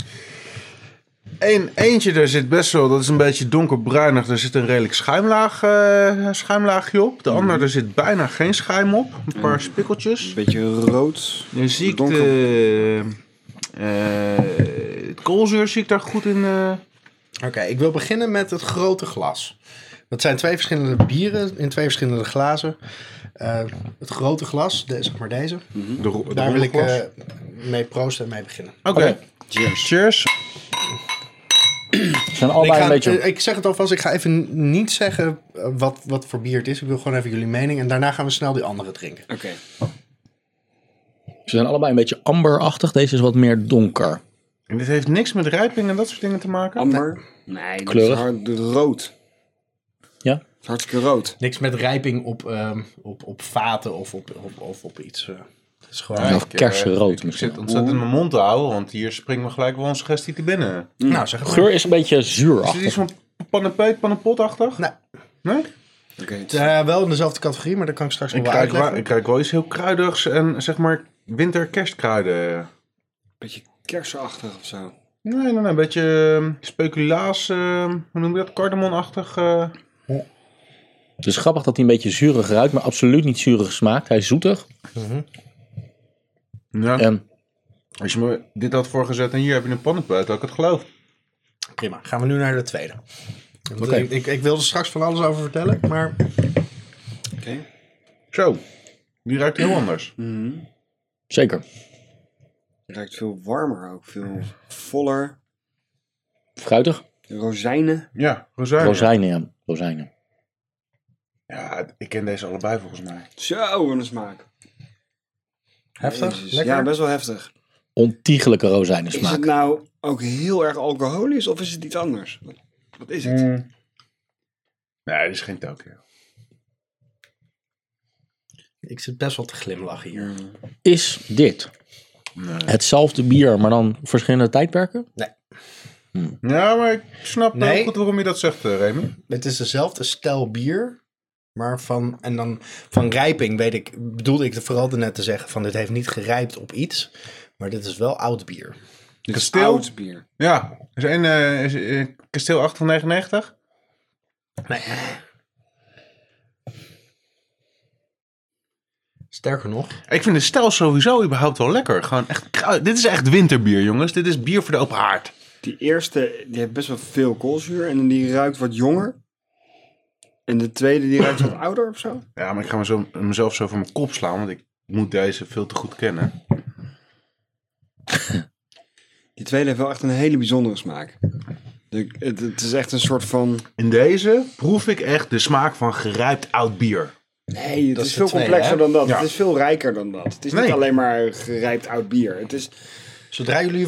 Speaker 3: Eén, eentje, daar zit best wel, dat is een beetje donkerbruinig. Daar zit een redelijk schuimlaag, eh, schuimlaagje op. De ander, daar zit bijna geen schuim op. Een paar spikkeltjes.
Speaker 2: Beetje rood.
Speaker 3: Dan zie ik
Speaker 2: donker.
Speaker 3: de, eh, het koolzuur zie ik daar goed in. eh.
Speaker 4: Oké, ik wil beginnen met het grote glas. Dat zijn twee verschillende bieren in twee verschillende glazen. Eh, het grote glas, de, zeg maar deze.
Speaker 3: de, ro- de
Speaker 4: Daar wil ik
Speaker 3: ronde glas.
Speaker 4: eh, mee proosten en mee beginnen.
Speaker 3: eh, Oké. Cheers. Cheers.
Speaker 1: Ze zijn
Speaker 4: Ik,
Speaker 1: allebei
Speaker 4: ga,
Speaker 1: een beetje...
Speaker 4: eh, ik zeg het alvast, ik ga even niet zeggen eh, wat, wat voor bier het is. Ik wil gewoon even jullie mening en daarna gaan we snel die andere drinken.
Speaker 2: Oké.
Speaker 4: eh,
Speaker 1: Ze zijn allebei een beetje amberachtig. Deze is wat meer donker.
Speaker 3: En dit heeft niks met rijping en dat soort dingen te maken.
Speaker 2: Amber. Nee, dat
Speaker 1: Kleurig.
Speaker 2: is hard, rood. Het
Speaker 1: Ja?
Speaker 2: is hartstikke rood.
Speaker 4: Niks met rijping op, ehm, op, op vaten of op, op, of op iets. eh. Het is gewoon...
Speaker 1: Of kersenrood
Speaker 3: Ik
Speaker 1: misschien.
Speaker 3: zit ontzettend in mijn mond te houden, want hier springt me gelijk wel een suggestie te binnen.
Speaker 4: Nou, zeg het maar.
Speaker 1: geur is een beetje
Speaker 3: Is dit iets
Speaker 1: zuurachtig.
Speaker 3: van pannepeet, pannenpotachtig?
Speaker 4: Nou,
Speaker 3: Nee?
Speaker 2: Oké.
Speaker 4: eh, wel in dezelfde categorie, maar daar kan ik straks
Speaker 3: Ik
Speaker 4: nog wel
Speaker 3: ruik, wel,
Speaker 4: uitleggen.
Speaker 3: ik ruik wel iets heel kruidigs en zeg maar winter-kerstkruiden.
Speaker 2: Beetje kersenachtig of zo.
Speaker 3: Nee, nee, nee, een beetje ehm, speculaas, ehm, hoe noem je dat, kardemonachtig. eh.
Speaker 1: Het is grappig dat hij een beetje zuurig ruikt, maar absoluut niet zuurig smaakt. Hij is zoetig.
Speaker 3: Ja.
Speaker 1: En
Speaker 3: Als je me dit had voorgezet en hier heb je een pannenpeet, had ik het geloofd.
Speaker 4: Prima, gaan we nu naar de tweede. Want eh,
Speaker 1: Oké.
Speaker 4: Ik, ik, ik wil er straks van alles over vertellen, maar
Speaker 2: Oké.
Speaker 3: Zo, die ruikt heel anders.
Speaker 1: zeker,
Speaker 2: Het ruikt veel warmer ook. Veel voller.
Speaker 1: fruitig.
Speaker 2: Rozijnen.
Speaker 3: Ja, rozijnen.
Speaker 1: Rozijnen, ja. Rozijnen.
Speaker 3: Ja, ik ken deze allebei volgens mij.
Speaker 2: Zo, wat een smaak.
Speaker 4: heftig,
Speaker 2: Jezus.
Speaker 4: lekker.
Speaker 2: Ja, best wel heftig.
Speaker 1: Ontiegelijke rozijnen
Speaker 2: Is het
Speaker 1: smaak.
Speaker 2: nou ook heel erg alcoholisch of is het iets anders? Wat, wat is het?
Speaker 3: Nee, dit is geen Tokio.
Speaker 4: Ik zit best wel te glimlachen hier.
Speaker 2: Mm.
Speaker 1: Is dit hetzelfde bier, maar dan verschillende tijdperken?
Speaker 3: Ja, maar ik snap wel
Speaker 4: Nee.
Speaker 3: goed waarom je dat zegt, eh, Remy.
Speaker 4: Het is dezelfde stijl bier, maar van, en dan van rijping weet ik, bedoelde ik vooral net te zeggen van dit heeft niet gerijpt op iets, maar dit is wel oud bier.
Speaker 2: Dit is
Speaker 3: Kasteel?
Speaker 2: oud bier.
Speaker 3: Ja, is één eh, is, eh, kasteel 8 van 99.
Speaker 4: Nee. Sterker nog,
Speaker 3: Ik vind de stijl sowieso überhaupt wel lekker. Gewoon echt kruid. Dit is echt winterbier, jongens. Dit is bier voor de open haard.
Speaker 2: Die eerste, die heeft best wel veel koolzuur en die ruikt wat jonger. En de tweede, die ruikt wat ouder of zo.
Speaker 3: Ja, maar ik ga mezelf, mezelf zo voor mijn kop slaan, want ik moet deze veel te goed kennen.
Speaker 2: Die tweede heeft wel echt een hele bijzondere smaak. De- het, het is echt een soort van...
Speaker 3: In deze proef ik echt de smaak van gerijpt oud bier.
Speaker 2: Nee, het
Speaker 4: Dat
Speaker 2: is,
Speaker 4: is de
Speaker 2: veel
Speaker 4: tweede,
Speaker 2: complexer
Speaker 4: hè?
Speaker 2: dan dat.
Speaker 3: Ja.
Speaker 2: Het is veel rijker dan dat. Het is niet
Speaker 3: Nee.
Speaker 2: alleen maar gerijpt oud bier. Het is
Speaker 4: zodra jullie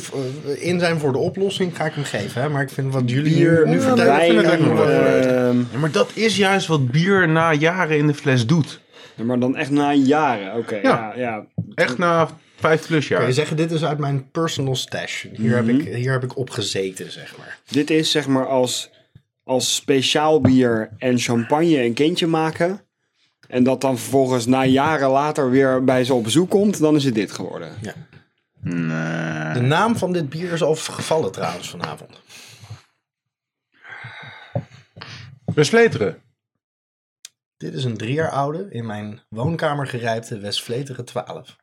Speaker 4: eh, in zijn voor de oplossing, ga ik hem geven. Hè? Maar ik vind wat jullie
Speaker 2: bier,
Speaker 4: nu
Speaker 2: nu
Speaker 4: vertellen,
Speaker 3: ik vind
Speaker 2: wijn.
Speaker 3: het ook nog wel
Speaker 2: ehm,
Speaker 3: Ja, maar dat is juist wat bier na jaren in de fles doet.
Speaker 2: ja, ehm, maar dan echt na jaren. Oké, ja.
Speaker 3: Ja.
Speaker 2: Ja,
Speaker 3: Echt na vijf plus
Speaker 4: Kun
Speaker 3: jaar.
Speaker 4: je zeggen, dit is uit mijn personal stash. Hier,
Speaker 2: Mhm.
Speaker 4: heb, ik, hier heb ik op gezeten, zeg maar.
Speaker 2: Dit is zeg maar als, als speciaal bier en champagne een kindje maken. En dat dan vervolgens na jaren later weer bij ze op bezoek komt, dan is het dit geworden.
Speaker 4: De naam van dit bier is al gevallen trouwens vanavond.
Speaker 3: Besleteren.
Speaker 4: Dit is een drie jaar oude, in mijn woonkamer gerijpte Westvleteren 12.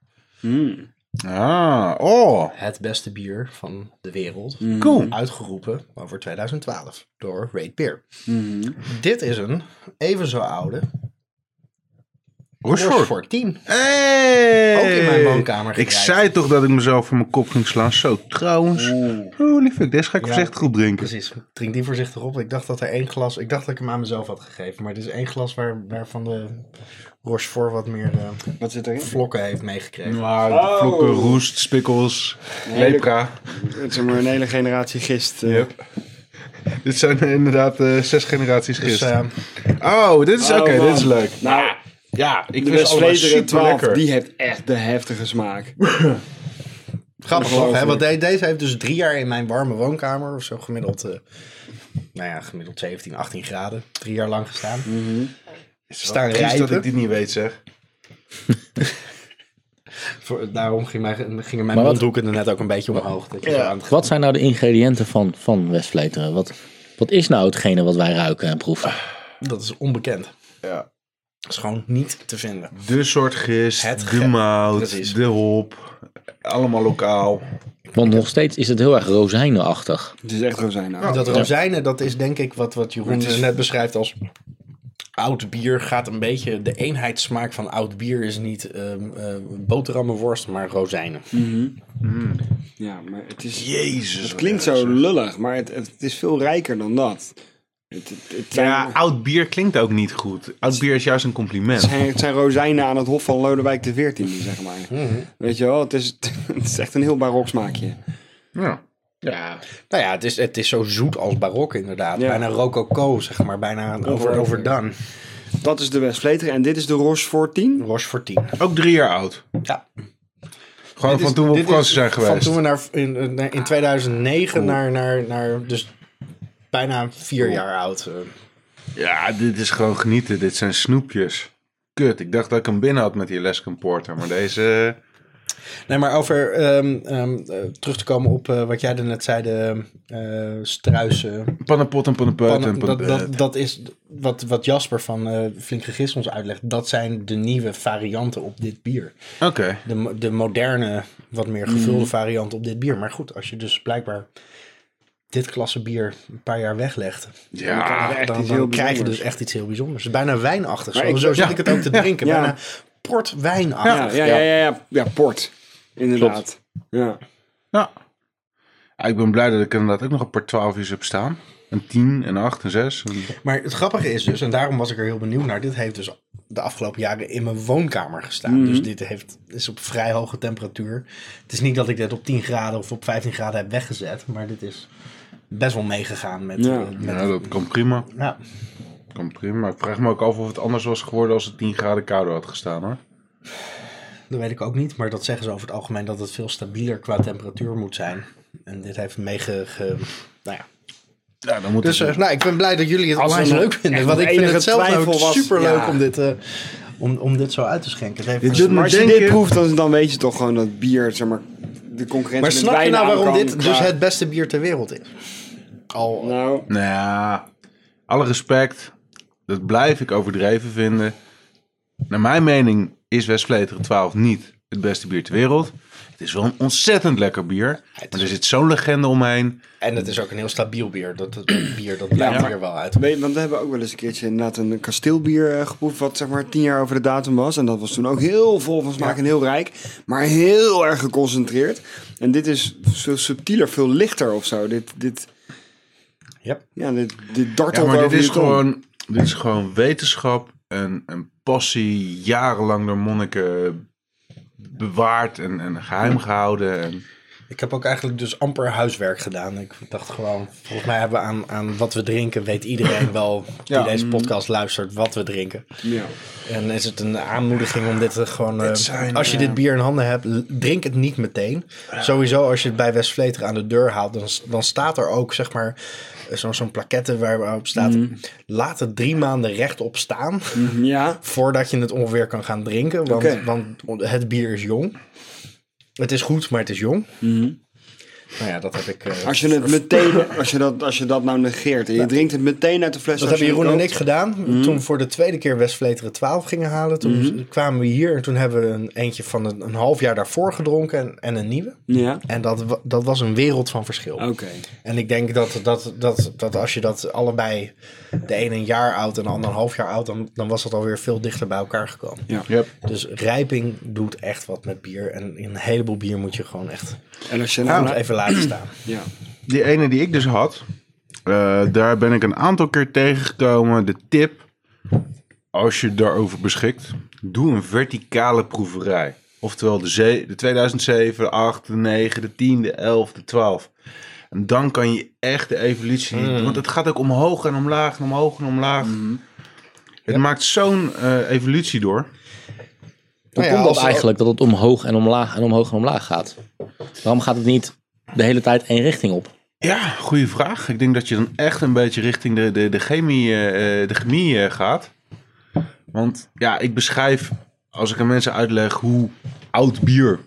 Speaker 3: Ah, oh.
Speaker 4: Het beste bier van de wereld.
Speaker 3: Cool.
Speaker 4: Uitgeroepen over 2012 door Raid Beer. Dit is een even zo oude
Speaker 3: Rochefort.
Speaker 4: Rochefort 10.
Speaker 3: Hey!
Speaker 4: Ook in mijn woonkamer
Speaker 3: Ik
Speaker 4: gedraaid.
Speaker 3: zei toch dat ik mezelf voor mijn kop ging slaan. Zo, trouwens. Holy fuck, deze ga ik voorzichtig op drinken.
Speaker 4: Precies, drink die voorzichtig op. Ik dacht dat er één glas, ik dacht dat ik hem aan mezelf had gegeven. Maar dit is één glas waar, waarvan de Rochefort wat meer eh,
Speaker 2: Wat zit erin?
Speaker 4: vlokken heeft meegekregen.
Speaker 3: Nou,
Speaker 4: Oh.
Speaker 3: vlokken, roest, spikkels, lepra.
Speaker 2: Het is maar een hele generatie gist. eh.
Speaker 3: Dit zijn inderdaad eh, zes generaties
Speaker 4: Dus
Speaker 3: gisteren.
Speaker 4: eh,
Speaker 3: oh, dit is
Speaker 2: Oh,
Speaker 3: oké,
Speaker 2: man.
Speaker 3: dit is leuk.
Speaker 2: Nou,
Speaker 3: Ja, ik
Speaker 2: de
Speaker 3: vind het allemaal
Speaker 2: Westvleteren
Speaker 3: super
Speaker 2: 12,
Speaker 3: lekker.
Speaker 2: die heeft echt de heftige smaak. Geloof
Speaker 4: Grappig toch, hè?
Speaker 2: me.
Speaker 4: Want de- deze heeft dus drie jaar in mijn warme woonkamer of zo gemiddeld, eh, nou ja, gemiddeld 17, 18 graden. Drie jaar lang gestaan.
Speaker 3: Is
Speaker 4: staan
Speaker 3: wel triest dat
Speaker 4: rijpen.
Speaker 3: ik dit niet weet, zeg.
Speaker 4: Voor, daarom ging mijn, gingen mijn
Speaker 1: Maar wat-
Speaker 4: mondhoeken er net ook een beetje omhoog. Dat je zo aan het-
Speaker 1: Wat zijn nou de ingrediënten van, van Westvleteren? Wat, wat is nou hetgene wat wij ruiken en proeven?
Speaker 4: dat is onbekend.
Speaker 3: Ja.
Speaker 4: Dat is gewoon niet te vinden.
Speaker 3: De soort gist,
Speaker 4: Het
Speaker 3: de
Speaker 4: ge-
Speaker 3: mout,
Speaker 4: Precies.
Speaker 3: de hop. Allemaal lokaal.
Speaker 1: Want nog steeds is het heel erg rozijnenachtig.
Speaker 2: Het is echt rozijnachtig.
Speaker 4: dat rozijnen, dat is denk ik wat, wat Jeroen
Speaker 2: Het is-
Speaker 4: eh, net beschrijft als... Oud bier gaat een beetje... De eenheidssmaak van oud bier is niet ehm eh, boterhammenworst, maar rozijnen.
Speaker 2: Ja, maar het is...
Speaker 3: Jezus.
Speaker 2: Het klinkt zo lullig, maar het, het, het is veel rijker dan dat. Het, het, het zijn,
Speaker 3: Ja, oud bier klinkt ook niet goed. Oud bier is juist een
Speaker 2: het,
Speaker 3: compliment.
Speaker 2: zijn, het zijn rozijnen aan het hof van Lodewijk de 14, zeg maar.
Speaker 4: Mhm.
Speaker 2: Weet je wel, het is, het is echt een heel barok smaakje.
Speaker 3: Ja.
Speaker 4: Nou ja, het is, het is zo zoet als barok inderdaad.
Speaker 2: Ja.
Speaker 4: Bijna rococo, zeg maar. Bijna over, overdone.
Speaker 2: Dat is de Westvleter en dit is de Rochefort 10.
Speaker 4: Roche voor 10.
Speaker 3: Ook drie jaar oud.
Speaker 4: Ja.
Speaker 3: Gewoon van toen we op vakantie zijn
Speaker 4: Van
Speaker 3: geweest.
Speaker 4: toen we naar, in, in- in 2009 naar, naar, naar... Dus bijna vier jaar oud. eh.
Speaker 3: Ja, dit is gewoon genieten. Dit zijn snoepjes. Kut, ik dacht dat ik hem binnen had met die Alaskan Porter. Maar deze...
Speaker 4: Nee, maar over ehm, ehm, eh, terug te komen op eh, wat jij net zei, de eh, struisen.
Speaker 3: eh, Pannenpot en pannenpeut en
Speaker 4: Pannen- dat, dat,
Speaker 3: pannenpeut.
Speaker 4: dat is wat, wat Jasper van eh Flink Gegist ons uitlegt. Dat zijn de nieuwe varianten op dit bier.
Speaker 3: Oké.
Speaker 4: De, mo- de moderne, wat meer gevulde
Speaker 2: Mhm.
Speaker 4: variant op dit bier. Maar goed, als je dus blijkbaar dit klasse bier een paar jaar weglegt,
Speaker 3: Ja.
Speaker 2: echt
Speaker 4: dan,
Speaker 2: iets heel
Speaker 4: dan krijg je
Speaker 2: bijzonders.
Speaker 4: dus echt iets heel bijzonders. Bijna wijnachtig.
Speaker 2: Maar
Speaker 4: Zo,
Speaker 2: ik-
Speaker 4: zo zit
Speaker 2: ja.
Speaker 4: ik het ook te drinken.
Speaker 2: Ja.
Speaker 4: Bijna portwijnachtig.
Speaker 2: Ja, ja, ja, ja, ja, ja, port. Inderdaad. Ja.
Speaker 3: Ja. Ja, Ik ben blij dat ik inderdaad ook nog een paar 12 uur heb staan. Een 10, een 8, een 6. een-
Speaker 4: Maar het grappige is dus, en daarom was ik er heel benieuwd naar. Dit heeft dus de afgelopen jaren in mijn woonkamer gestaan.
Speaker 2: Mhm.
Speaker 4: Dus dit heeft, is op vrij hoge temperatuur. Het is niet dat ik dit op 10 graden of op 15 graden heb weggezet. Maar dit is best wel meegegaan met...
Speaker 2: Ja.
Speaker 4: eh, met-
Speaker 3: Ja, dat kan prima.
Speaker 4: ja.
Speaker 3: Kan prima. Ik vraag me ook af of het anders was geworden als het 10 graden kouder had gestaan hoor.
Speaker 4: dat weet ik ook niet. Maar dat zeggen ze over het algemeen dat het veel stabieler qua temperatuur moet zijn. En dit heeft meege... ge- Nou ja.
Speaker 3: Ja, dan moet
Speaker 4: Dus
Speaker 3: het...
Speaker 4: eh, nou, ik ben blij dat jullie het
Speaker 2: Als er
Speaker 4: onwijs
Speaker 2: nog
Speaker 4: leuk vinden.
Speaker 2: echt
Speaker 4: Want ik vind
Speaker 2: enige
Speaker 4: het zelf nou ook
Speaker 2: twijfel was-
Speaker 4: superleuk
Speaker 2: ja.
Speaker 4: om, dit, eh, om, om dit zo uit te schenken. Het heeft
Speaker 3: Dit
Speaker 4: een
Speaker 3: doet me
Speaker 2: Maar als je
Speaker 3: denken-
Speaker 2: dit proeft, dan, dan weet je toch gewoon dat bier, zeg maar, de concurrentie
Speaker 4: Maar
Speaker 2: met
Speaker 4: snap je
Speaker 2: wijn
Speaker 4: nou waarom
Speaker 2: aankan
Speaker 4: dit
Speaker 2: qua-
Speaker 4: dus het beste bier ter wereld is? Al,
Speaker 2: Nou,
Speaker 3: Nou ja, alle respect. Dat blijf ik overdreven vinden. Naar mijn mening is Westvleteren 12 niet het beste bier ter wereld. Het is wel een ontzettend lekker bier. Maar er zit zo'n legende omheen.
Speaker 4: en het is ook een heel stabiel bier. Dat, dat bier, dat blijft
Speaker 2: maar-
Speaker 4: er wel uit.
Speaker 2: Weet je, want we hebben ook wel eens een keertje inderdaad een kasteelbier eh, geproefd, wat zeg maar tien jaar over de datum was. En dat was toen ook heel vol van smaak en heel rijk, maar heel erg geconcentreerd. En dit is veel subtieler, veel lichter of zo. Dit, dit,
Speaker 4: Ja.
Speaker 2: ja, dit, dit dartelt
Speaker 3: Ja, maar
Speaker 2: over
Speaker 3: dit is,
Speaker 2: je tong.
Speaker 3: gewoon, dit is gewoon wetenschap en, en passie. Jarenlang door monniken bewaard en, en geheim gehouden. En,
Speaker 4: Ik heb ook eigenlijk dus amper huiswerk gedaan. Ik dacht gewoon, volgens mij hebben we aan, aan wat we drinken, weet iedereen wel die
Speaker 2: Ja.
Speaker 4: deze podcast luistert, wat we drinken.
Speaker 2: Ja.
Speaker 4: En is het een aanmoediging om dit eh, gewoon... eh,
Speaker 3: zijn,
Speaker 4: als je
Speaker 3: eh,
Speaker 4: dit bier in handen hebt, l- drink het niet meteen. Sowieso als je het bij Westvleteren aan de deur haalt, dan, s- dan staat er ook zeg maar eh, zo'n zo'n plaquette waarop staat... Laat het drie maanden rechtop staan
Speaker 2: Ja.
Speaker 4: voordat je het ongeveer kan gaan drinken. Want,
Speaker 2: Oké.
Speaker 4: want het bier is jong. Het is goed, maar het is jong. Nou ja, dat heb ik... eh,
Speaker 2: Als je het meteen, als je dat, als je dat nou negeert en je drinkt het meteen uit de fles.
Speaker 4: Dat
Speaker 2: als
Speaker 4: hebben
Speaker 2: je
Speaker 4: Jeroen
Speaker 2: hem
Speaker 4: en
Speaker 2: koopt.
Speaker 4: ik gedaan. Toen we voor de tweede keer Westvleteren 12 gingen halen. Toen kwamen we hier en toen hebben we een eentje van een, een half jaar daarvoor gedronken en, en een nieuwe.
Speaker 2: Ja.
Speaker 4: En dat, wa- dat was een wereld van verschil.
Speaker 2: Oké.
Speaker 4: En ik denk dat, dat, dat, dat als je dat allebei, de ene een jaar oud en de ander een half jaar oud, dan, dan was dat alweer veel dichter bij elkaar gekomen.
Speaker 2: Ja.
Speaker 4: Dus rijping doet echt wat met bier. En in een heleboel bier moet je gewoon echt
Speaker 2: En als je
Speaker 4: gewoon
Speaker 2: nou,
Speaker 4: even laten staan.
Speaker 2: ja.
Speaker 3: Die ene die ik dus had, eh, daar ben ik een aantal keer tegengekomen. De tip, als je daarover beschikt, doe een verticale proeverij. Oftewel de, ze- de 2007, de 8, de 9, de 10, de 11, de 12. En dan kan je echt de evolutie zien. Want het gaat ook omhoog en omlaag en omhoog en omlaag. Het maakt zo'n eh, evolutie door.
Speaker 1: Hoe
Speaker 4: Nou ja,
Speaker 1: komt
Speaker 4: als
Speaker 1: dat
Speaker 4: we-
Speaker 1: eigenlijk dat het omhoog en omlaag en omhoog en omlaag gaat? Waarom gaat het niet de hele tijd één richting op?
Speaker 3: Ja, goede vraag. Ik denk dat je dan echt een beetje richting de, de, de chemie, eh, eh, de chemie eh, gaat. Want ja, ik beschrijf, als ik aan mensen uitleg hoe oud bier,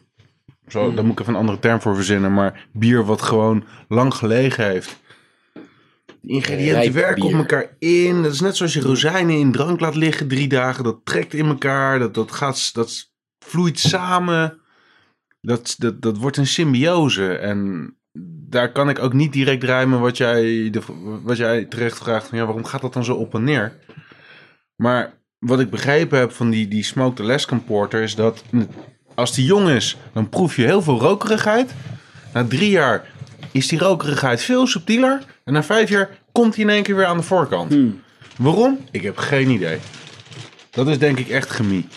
Speaker 3: zo,
Speaker 1: Hmm.
Speaker 3: daar moet ik even een andere term voor verzinnen, maar bier wat gewoon lang gelegen heeft. De ingrediënten
Speaker 1: Rijp
Speaker 3: werken op
Speaker 1: bier.
Speaker 3: elkaar in. Dat is net zoals je rozijnen in drank laat liggen drie dagen. Dat trekt in elkaar, dat, dat, gaat, dat vloeit samen. Dat, dat, dat wordt een symbiose. En daar kan ik ook niet direct rijmen wat jij, de, wat jij terecht vraagt. Van, ja, waarom gaat dat dan zo op en neer? Maar wat ik begrepen heb van die, die Smoked Alaskan Porter is dat mm, als die jong is, dan proef je heel veel rokerigheid. Na drie jaar is die rokerigheid veel subtieler. En na vijf jaar komt hij in één keer weer aan de voorkant. Waarom? Ik heb geen idee. Dat is denk ik echt chemie.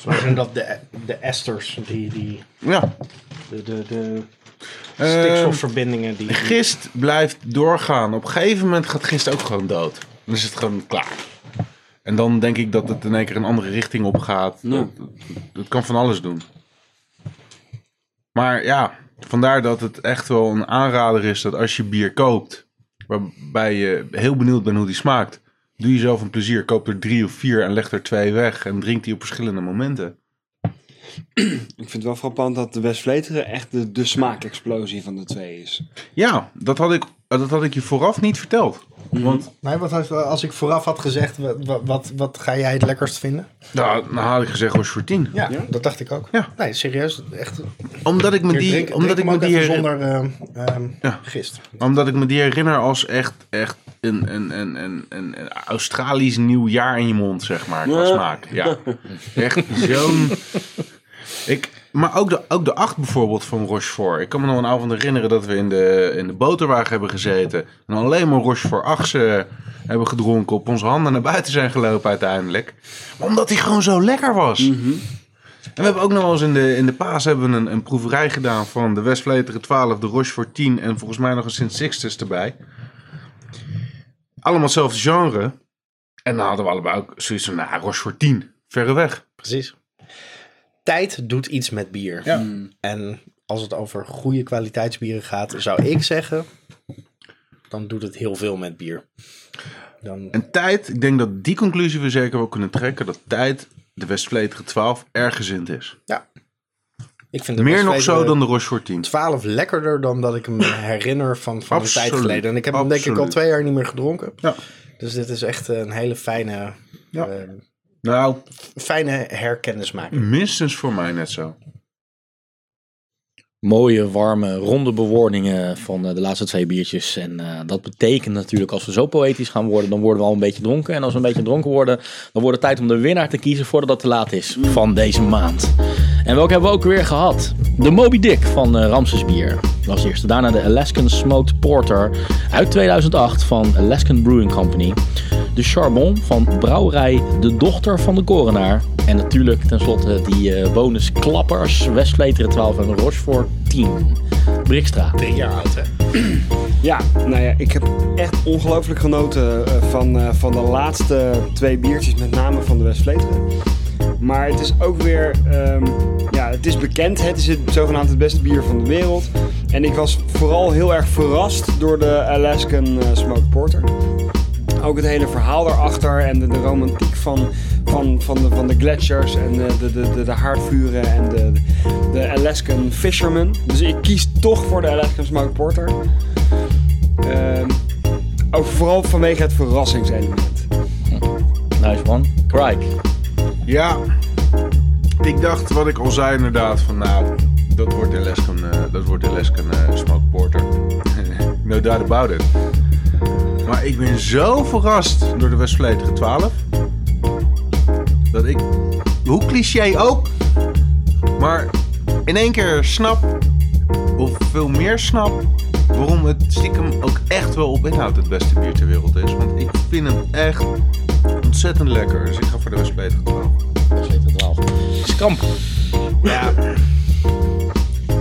Speaker 4: Soms zijn dat de, de esters, die, die,
Speaker 3: Ja.
Speaker 4: de, de, de
Speaker 3: Ehm,
Speaker 4: stikstofverbindingen. Die, die-
Speaker 3: Gist blijft doorgaan. Op een gegeven moment gaat gist ook gewoon dood. Dan is het gewoon klaar. En dan denk ik dat het in één keer een andere richting op gaat.
Speaker 2: Nou.
Speaker 3: Dat, dat- dat kan van alles doen. Maar ja, vandaar dat het echt wel een aanrader is dat als je bier koopt, waarbij je heel benieuwd bent hoe die smaakt, doe jezelf een plezier. Koop er drie of vier en leg er twee weg en drink die op verschillende momenten.
Speaker 2: Ik vind het wel frappant dat de Westvleteren echt de, de smaakexplosie van de twee is.
Speaker 3: Ja, dat had ik, dat had ik je vooraf niet verteld. Want
Speaker 4: Nee, wat als, als ik vooraf had gezegd, wa- wa- wat, wat, ga jij het lekkerst vinden?
Speaker 3: nou, nou had ik gezegd Rochefortine.
Speaker 4: Ja, dat dacht ik ook.
Speaker 3: Ja.
Speaker 4: Nee, serieus, echt.
Speaker 3: Omdat ik me die, omdat ik me die
Speaker 4: hier
Speaker 3: herinner,
Speaker 4: zonder eh, ehm,
Speaker 3: Ja.
Speaker 4: gist.
Speaker 3: omdat ik me die herinner als echt, echt een, een, een, een, een, een Australisch nieuwjaar in je mond, zeg maar. Qua smaak. Ja. Echt zo'n. Ik, maar ook de, ook de acht bijvoorbeeld van Rochefort. Ik kan me nog een avond herinneren dat we in de, in de boterwagen hebben gezeten. En alleen maar Rochefort 8 hebben gedronken. Op onze handen naar buiten zijn gelopen uiteindelijk. Maar omdat hij gewoon zo lekker was. En we hebben ook nog wel eens in de, in de paas hebben we een, een proeverij gedaan van de Westvleteren 12, de Rochefort 10 en volgens mij nog een Sint Sixtus erbij. Allemaal hetzelfde genre. En dan hadden we allebei ook zoiets van, nou, Rochefort 10, verre weg.
Speaker 4: Precies. Tijd doet iets met bier.
Speaker 3: Ja.
Speaker 4: Hmm. En als het over goede kwaliteitsbieren gaat, zou ik zeggen, dan doet het heel veel met bier. Dan,
Speaker 3: En tijd, ik denk dat die conclusie we zeker wel kunnen trekken, dat tijd de Westvleteren 12 ergezind is.
Speaker 4: ja. Ik vind de
Speaker 3: Meer nog
Speaker 4: Westvleteren
Speaker 3: zo dan de Rochefort 10.
Speaker 4: 12 lekkerder dan dat ik me herinner van, van een tijd
Speaker 3: Absoluut.
Speaker 4: geleden. En ik heb hem denk ik al
Speaker 3: Absoluut.
Speaker 4: twee jaar niet meer gedronken.
Speaker 3: Ja.
Speaker 4: Dus dit is echt een hele fijne,
Speaker 3: Ja.
Speaker 4: eh,
Speaker 3: Nou,
Speaker 4: fijne herkennismaking.
Speaker 3: minstens voor mij net zo.
Speaker 1: Mooie, warme, ronde bewoordingen van eh, de laatste twee biertjes. En eh, dat betekent natuurlijk, als we zo poëtisch gaan worden, dan worden we al een beetje dronken. En als we een beetje dronken worden, dan wordt het tijd om de winnaar te kiezen voordat het te laat is van deze maand. En welke hebben we ook weer gehad? De Moby Dick van eh, Ramses Bier was de eerste. Daarna de Alaskan Smoked Porter uit 2008 van Alaskan Brewing Company. de Charbon van Brouwerij De Dochter van de Korenaar. En natuurlijk tenslotte die eh bonus Klappers, Westleteren 12 en Rochefort 10. Brikstra.
Speaker 4: Drie jaar oud, hè?
Speaker 2: Ja, nou ja, ik heb echt ongelooflijk genoten eh, van, eh, van de laatste twee biertjes, met name van de Westvleteren. Maar het is ook weer, ehm, ja, het is bekend, het is het zogenaamd het beste bier van de wereld. En ik was vooral heel erg verrast door de Alaskan eh, Smoked Porter. Ook het hele verhaal daarachter en de, de romantiek van, van, van, de, van de gletsjers en de, de, de, de, de haardvuren en de, de Alaskan Fishermen. Dus ik kies toch voor de Alaskan Smoked Porter. Ehm, ook vooral vanwege het verrassingselement.
Speaker 1: Nice one. Crike.
Speaker 3: Ja, ik dacht wat ik al zei inderdaad van nou, dat wordt de Lesken, dat wordt de Lesken Smoke Porter. no doubt about it. Maar ik ben zo verrast door de Westvletige 12. Dat ik, hoe cliché ook, maar in één keer snap, of veel meer snap, waarom het stiekem ook echt wel op inhoud het beste bier ter wereld is. Want ik vind hem echt ontzettend lekker. Dus ik ga voor de Westvletige 12.
Speaker 1: Westleteren 12. Skamp.
Speaker 4: Ja.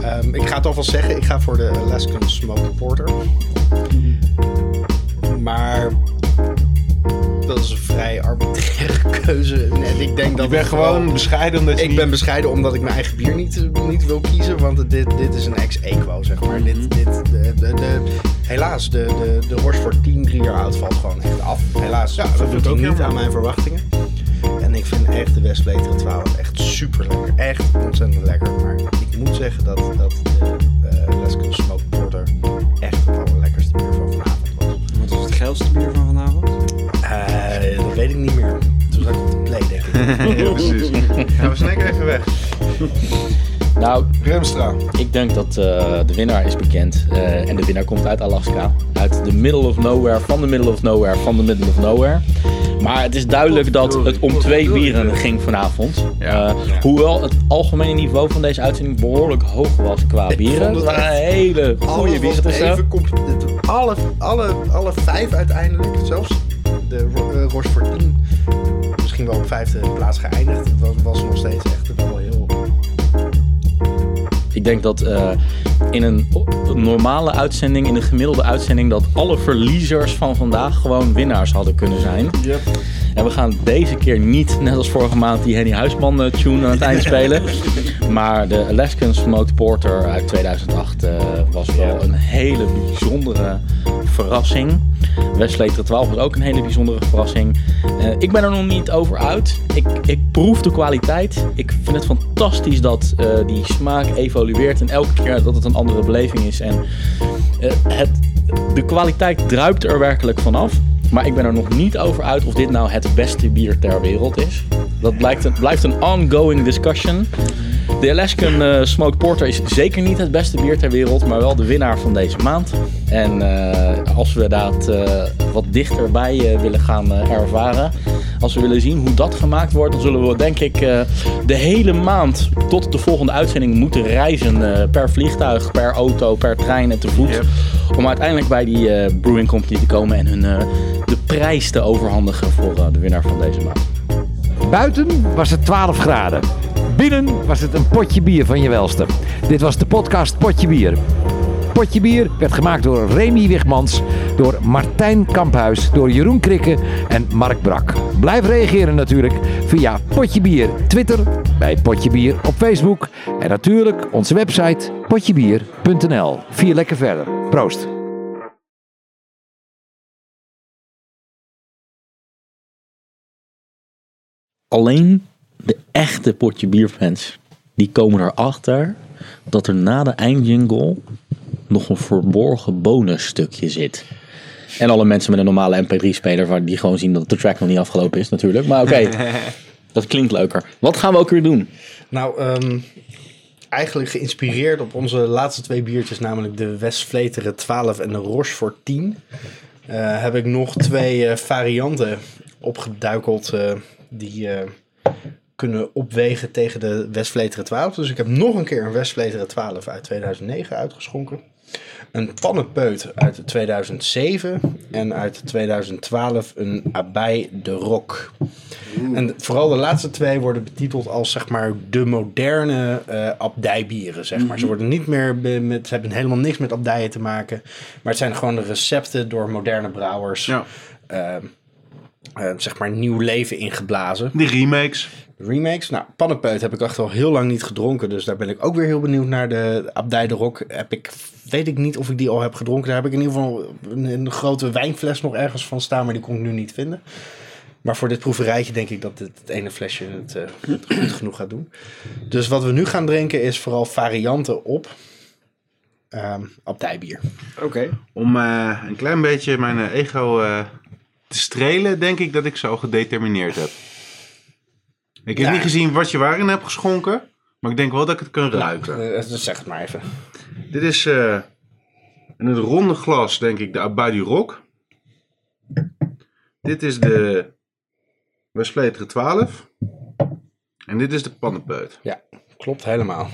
Speaker 4: Ehm, ik ga het alvast zeggen, ik ga voor de Alaskan Smoked Porter. Maar dat is een vrij arbitraire keuze. En ik denk dat
Speaker 3: Ik ben
Speaker 4: het
Speaker 3: gewoon bescheiden omdat je
Speaker 4: Ik
Speaker 3: niet-
Speaker 4: ben bescheiden omdat ik mijn eigen bier niet, niet wil kiezen. Want dit, dit is een ex-equo, zeg maar. Dit, dit, de, de, de- helaas, de, de, de Rochefort 10 drie jaar oud valt gewoon echt af. Helaas, ja,
Speaker 3: vind ik ook
Speaker 4: niet
Speaker 3: jammer.
Speaker 4: aan mijn verwachtingen. En ik vind echt de Westvleteren 12 echt super lekker. Echt ontzettend lekker. Maar ik moet zeggen dat, dat de eh Alaskan Smoked Porter echt het allerlekkerste bier van vanavond was.
Speaker 2: Wat is het geilste bier van vanavond?
Speaker 4: Eh, dat weet ik niet meer. Toen zat ik op de play, denk ik.
Speaker 3: Ja, precies. Gaan we snacken even weg.
Speaker 1: Nou,
Speaker 3: Remstra.
Speaker 1: Ik denk dat eh, de winnaar is bekend. Eh, en de winnaar komt uit Alaska. Uit de middle of nowhere, van de middle of nowhere, van de middle of nowhere. Maar het is duidelijk dat het om twee bieren ging vanavond.
Speaker 3: Ja.
Speaker 1: Eh, hoewel het algemene niveau van deze uitzending behoorlijk hoog was qua bieren. Het
Speaker 4: vond het
Speaker 1: waren
Speaker 4: echt-
Speaker 1: hele goede
Speaker 4: Alles
Speaker 1: bieren
Speaker 4: was
Speaker 1: tussen.
Speaker 4: even comp- het- alle, alle, alle vijf uiteindelijk, zelfs de Ro- eh, Rochefort 10, misschien wel op vijfde plaats geëindigd. Het was, was nog steeds echt wel heel...
Speaker 1: Ik denk dat eh, in een o- normale uitzending, in een gemiddelde uitzending, dat alle verliezers van vandaag gewoon winnaars hadden kunnen zijn. En we gaan deze keer niet, net als vorige maand, die Henny Huisman eh, tune aan het eind spelen. Maar de Alaskan Smoked Porter uit 2008 eh, was wel een hele bijzondere verrassing. Westlake 12 was ook een hele bijzondere verrassing. Eh, ik ben er nog niet over uit. Ik, ik proef de kwaliteit. Ik vind het fantastisch dat eh, die smaak evolueert en elke keer dat het een andere beleving is. En eh, het, de kwaliteit druipt er werkelijk vanaf. Maar ik ben er nog niet over uit of dit nou het beste bier ter wereld is. Dat blijkt een, blijft een ongoing discussion. De Alaskan eh, Smoked Porter is zeker niet het beste bier ter wereld, maar wel de winnaar van deze maand. En eh, als we dat eh, wat dichterbij eh, willen gaan eh, ervaren, als we willen zien hoe dat gemaakt wordt, dan zullen we denk ik eh, de hele maand tot de volgende uitzending moeten reizen. eh, per vliegtuig, per auto, per trein en te voet.
Speaker 3: Yep.
Speaker 1: Om uiteindelijk bij die eh, Brewing Company te komen en hun eh, de prijs te overhandigen voor eh, de winnaar van deze maand.
Speaker 6: Buiten was het 12 graden. Binnen was het een potje bier van je welste. Dit was de podcast Potje Bier. Potje Bier werd gemaakt door Remy Wigmans, door Martijn Kamphuis, door Jeroen Krikke en Mark Brak. Blijf reageren natuurlijk via Potje Bier Twitter, bij Potje Bier op Facebook en natuurlijk onze website potjebier.nl. Vier lekker verder. Proost!
Speaker 1: alleen de echte potje bierfans, die komen erachter dat er na de eindjingle nog een verborgen bonusstukje zit. En alle mensen met een normale MP3-speler, waar die gewoon zien dat de track nog niet afgelopen is natuurlijk. Maar oké, dat klinkt leuker. Wat gaan we ook weer doen?
Speaker 4: Nou, ehm, eigenlijk geïnspireerd op onze laatste twee biertjes, namelijk de Westvleteren 12 en de Rochefort 10, eh, heb ik nog twee eh, varianten opgeduikeld eh, die eh, kunnen opwegen tegen de Westvleteren 12. Dus ik heb nog een keer een Westvleteren 12 uit 2009 uitgeschonken. een pannenpeut uit 2007 en uit 2012 een abij de Rock. En vooral de laatste twee worden betiteld als zeg maar de moderne eh, abdijbieren. Zeg maar. Ze worden niet meer be- met, ze hebben helemaal niks met abdijen te maken. Maar het zijn gewoon de recepten door moderne brouwers.
Speaker 3: Ja.
Speaker 4: eh, eh, zeg maar nieuw leven ingeblazen.
Speaker 3: Die remakes.
Speaker 4: Remakes. Nou, Pannenpeut heb ik echt al heel lang niet gedronken. Dus daar ben ik ook weer heel benieuwd naar. De Abdij de Rock heb ik, weet ik niet of ik die al heb gedronken. Daar heb ik in ieder geval een, een grote wijnfles nog ergens van staan. Maar die kon ik nu niet vinden. Maar voor dit proeverijtje denk ik dat dit, het ene flesje het eh, goed genoeg gaat doen. Dus wat we nu gaan drinken is vooral varianten op ehm abdijbier.
Speaker 2: Oké.
Speaker 3: Om eh, een klein beetje mijn eh, ego eh, te strelen, denk ik dat ik ze al gedetermineerd heb. Ik heb
Speaker 4: Ja.
Speaker 3: niet gezien wat je waarin hebt geschonken, maar ik denk wel dat ik het kan ruiken.
Speaker 4: Eh, dus zeg het maar even.
Speaker 3: Dit is eh, in het ronde glas, denk ik, de Abadi Rock. Dit is de Westfleteren 12. En dit is de pannenpeut.
Speaker 4: Ja, klopt helemaal.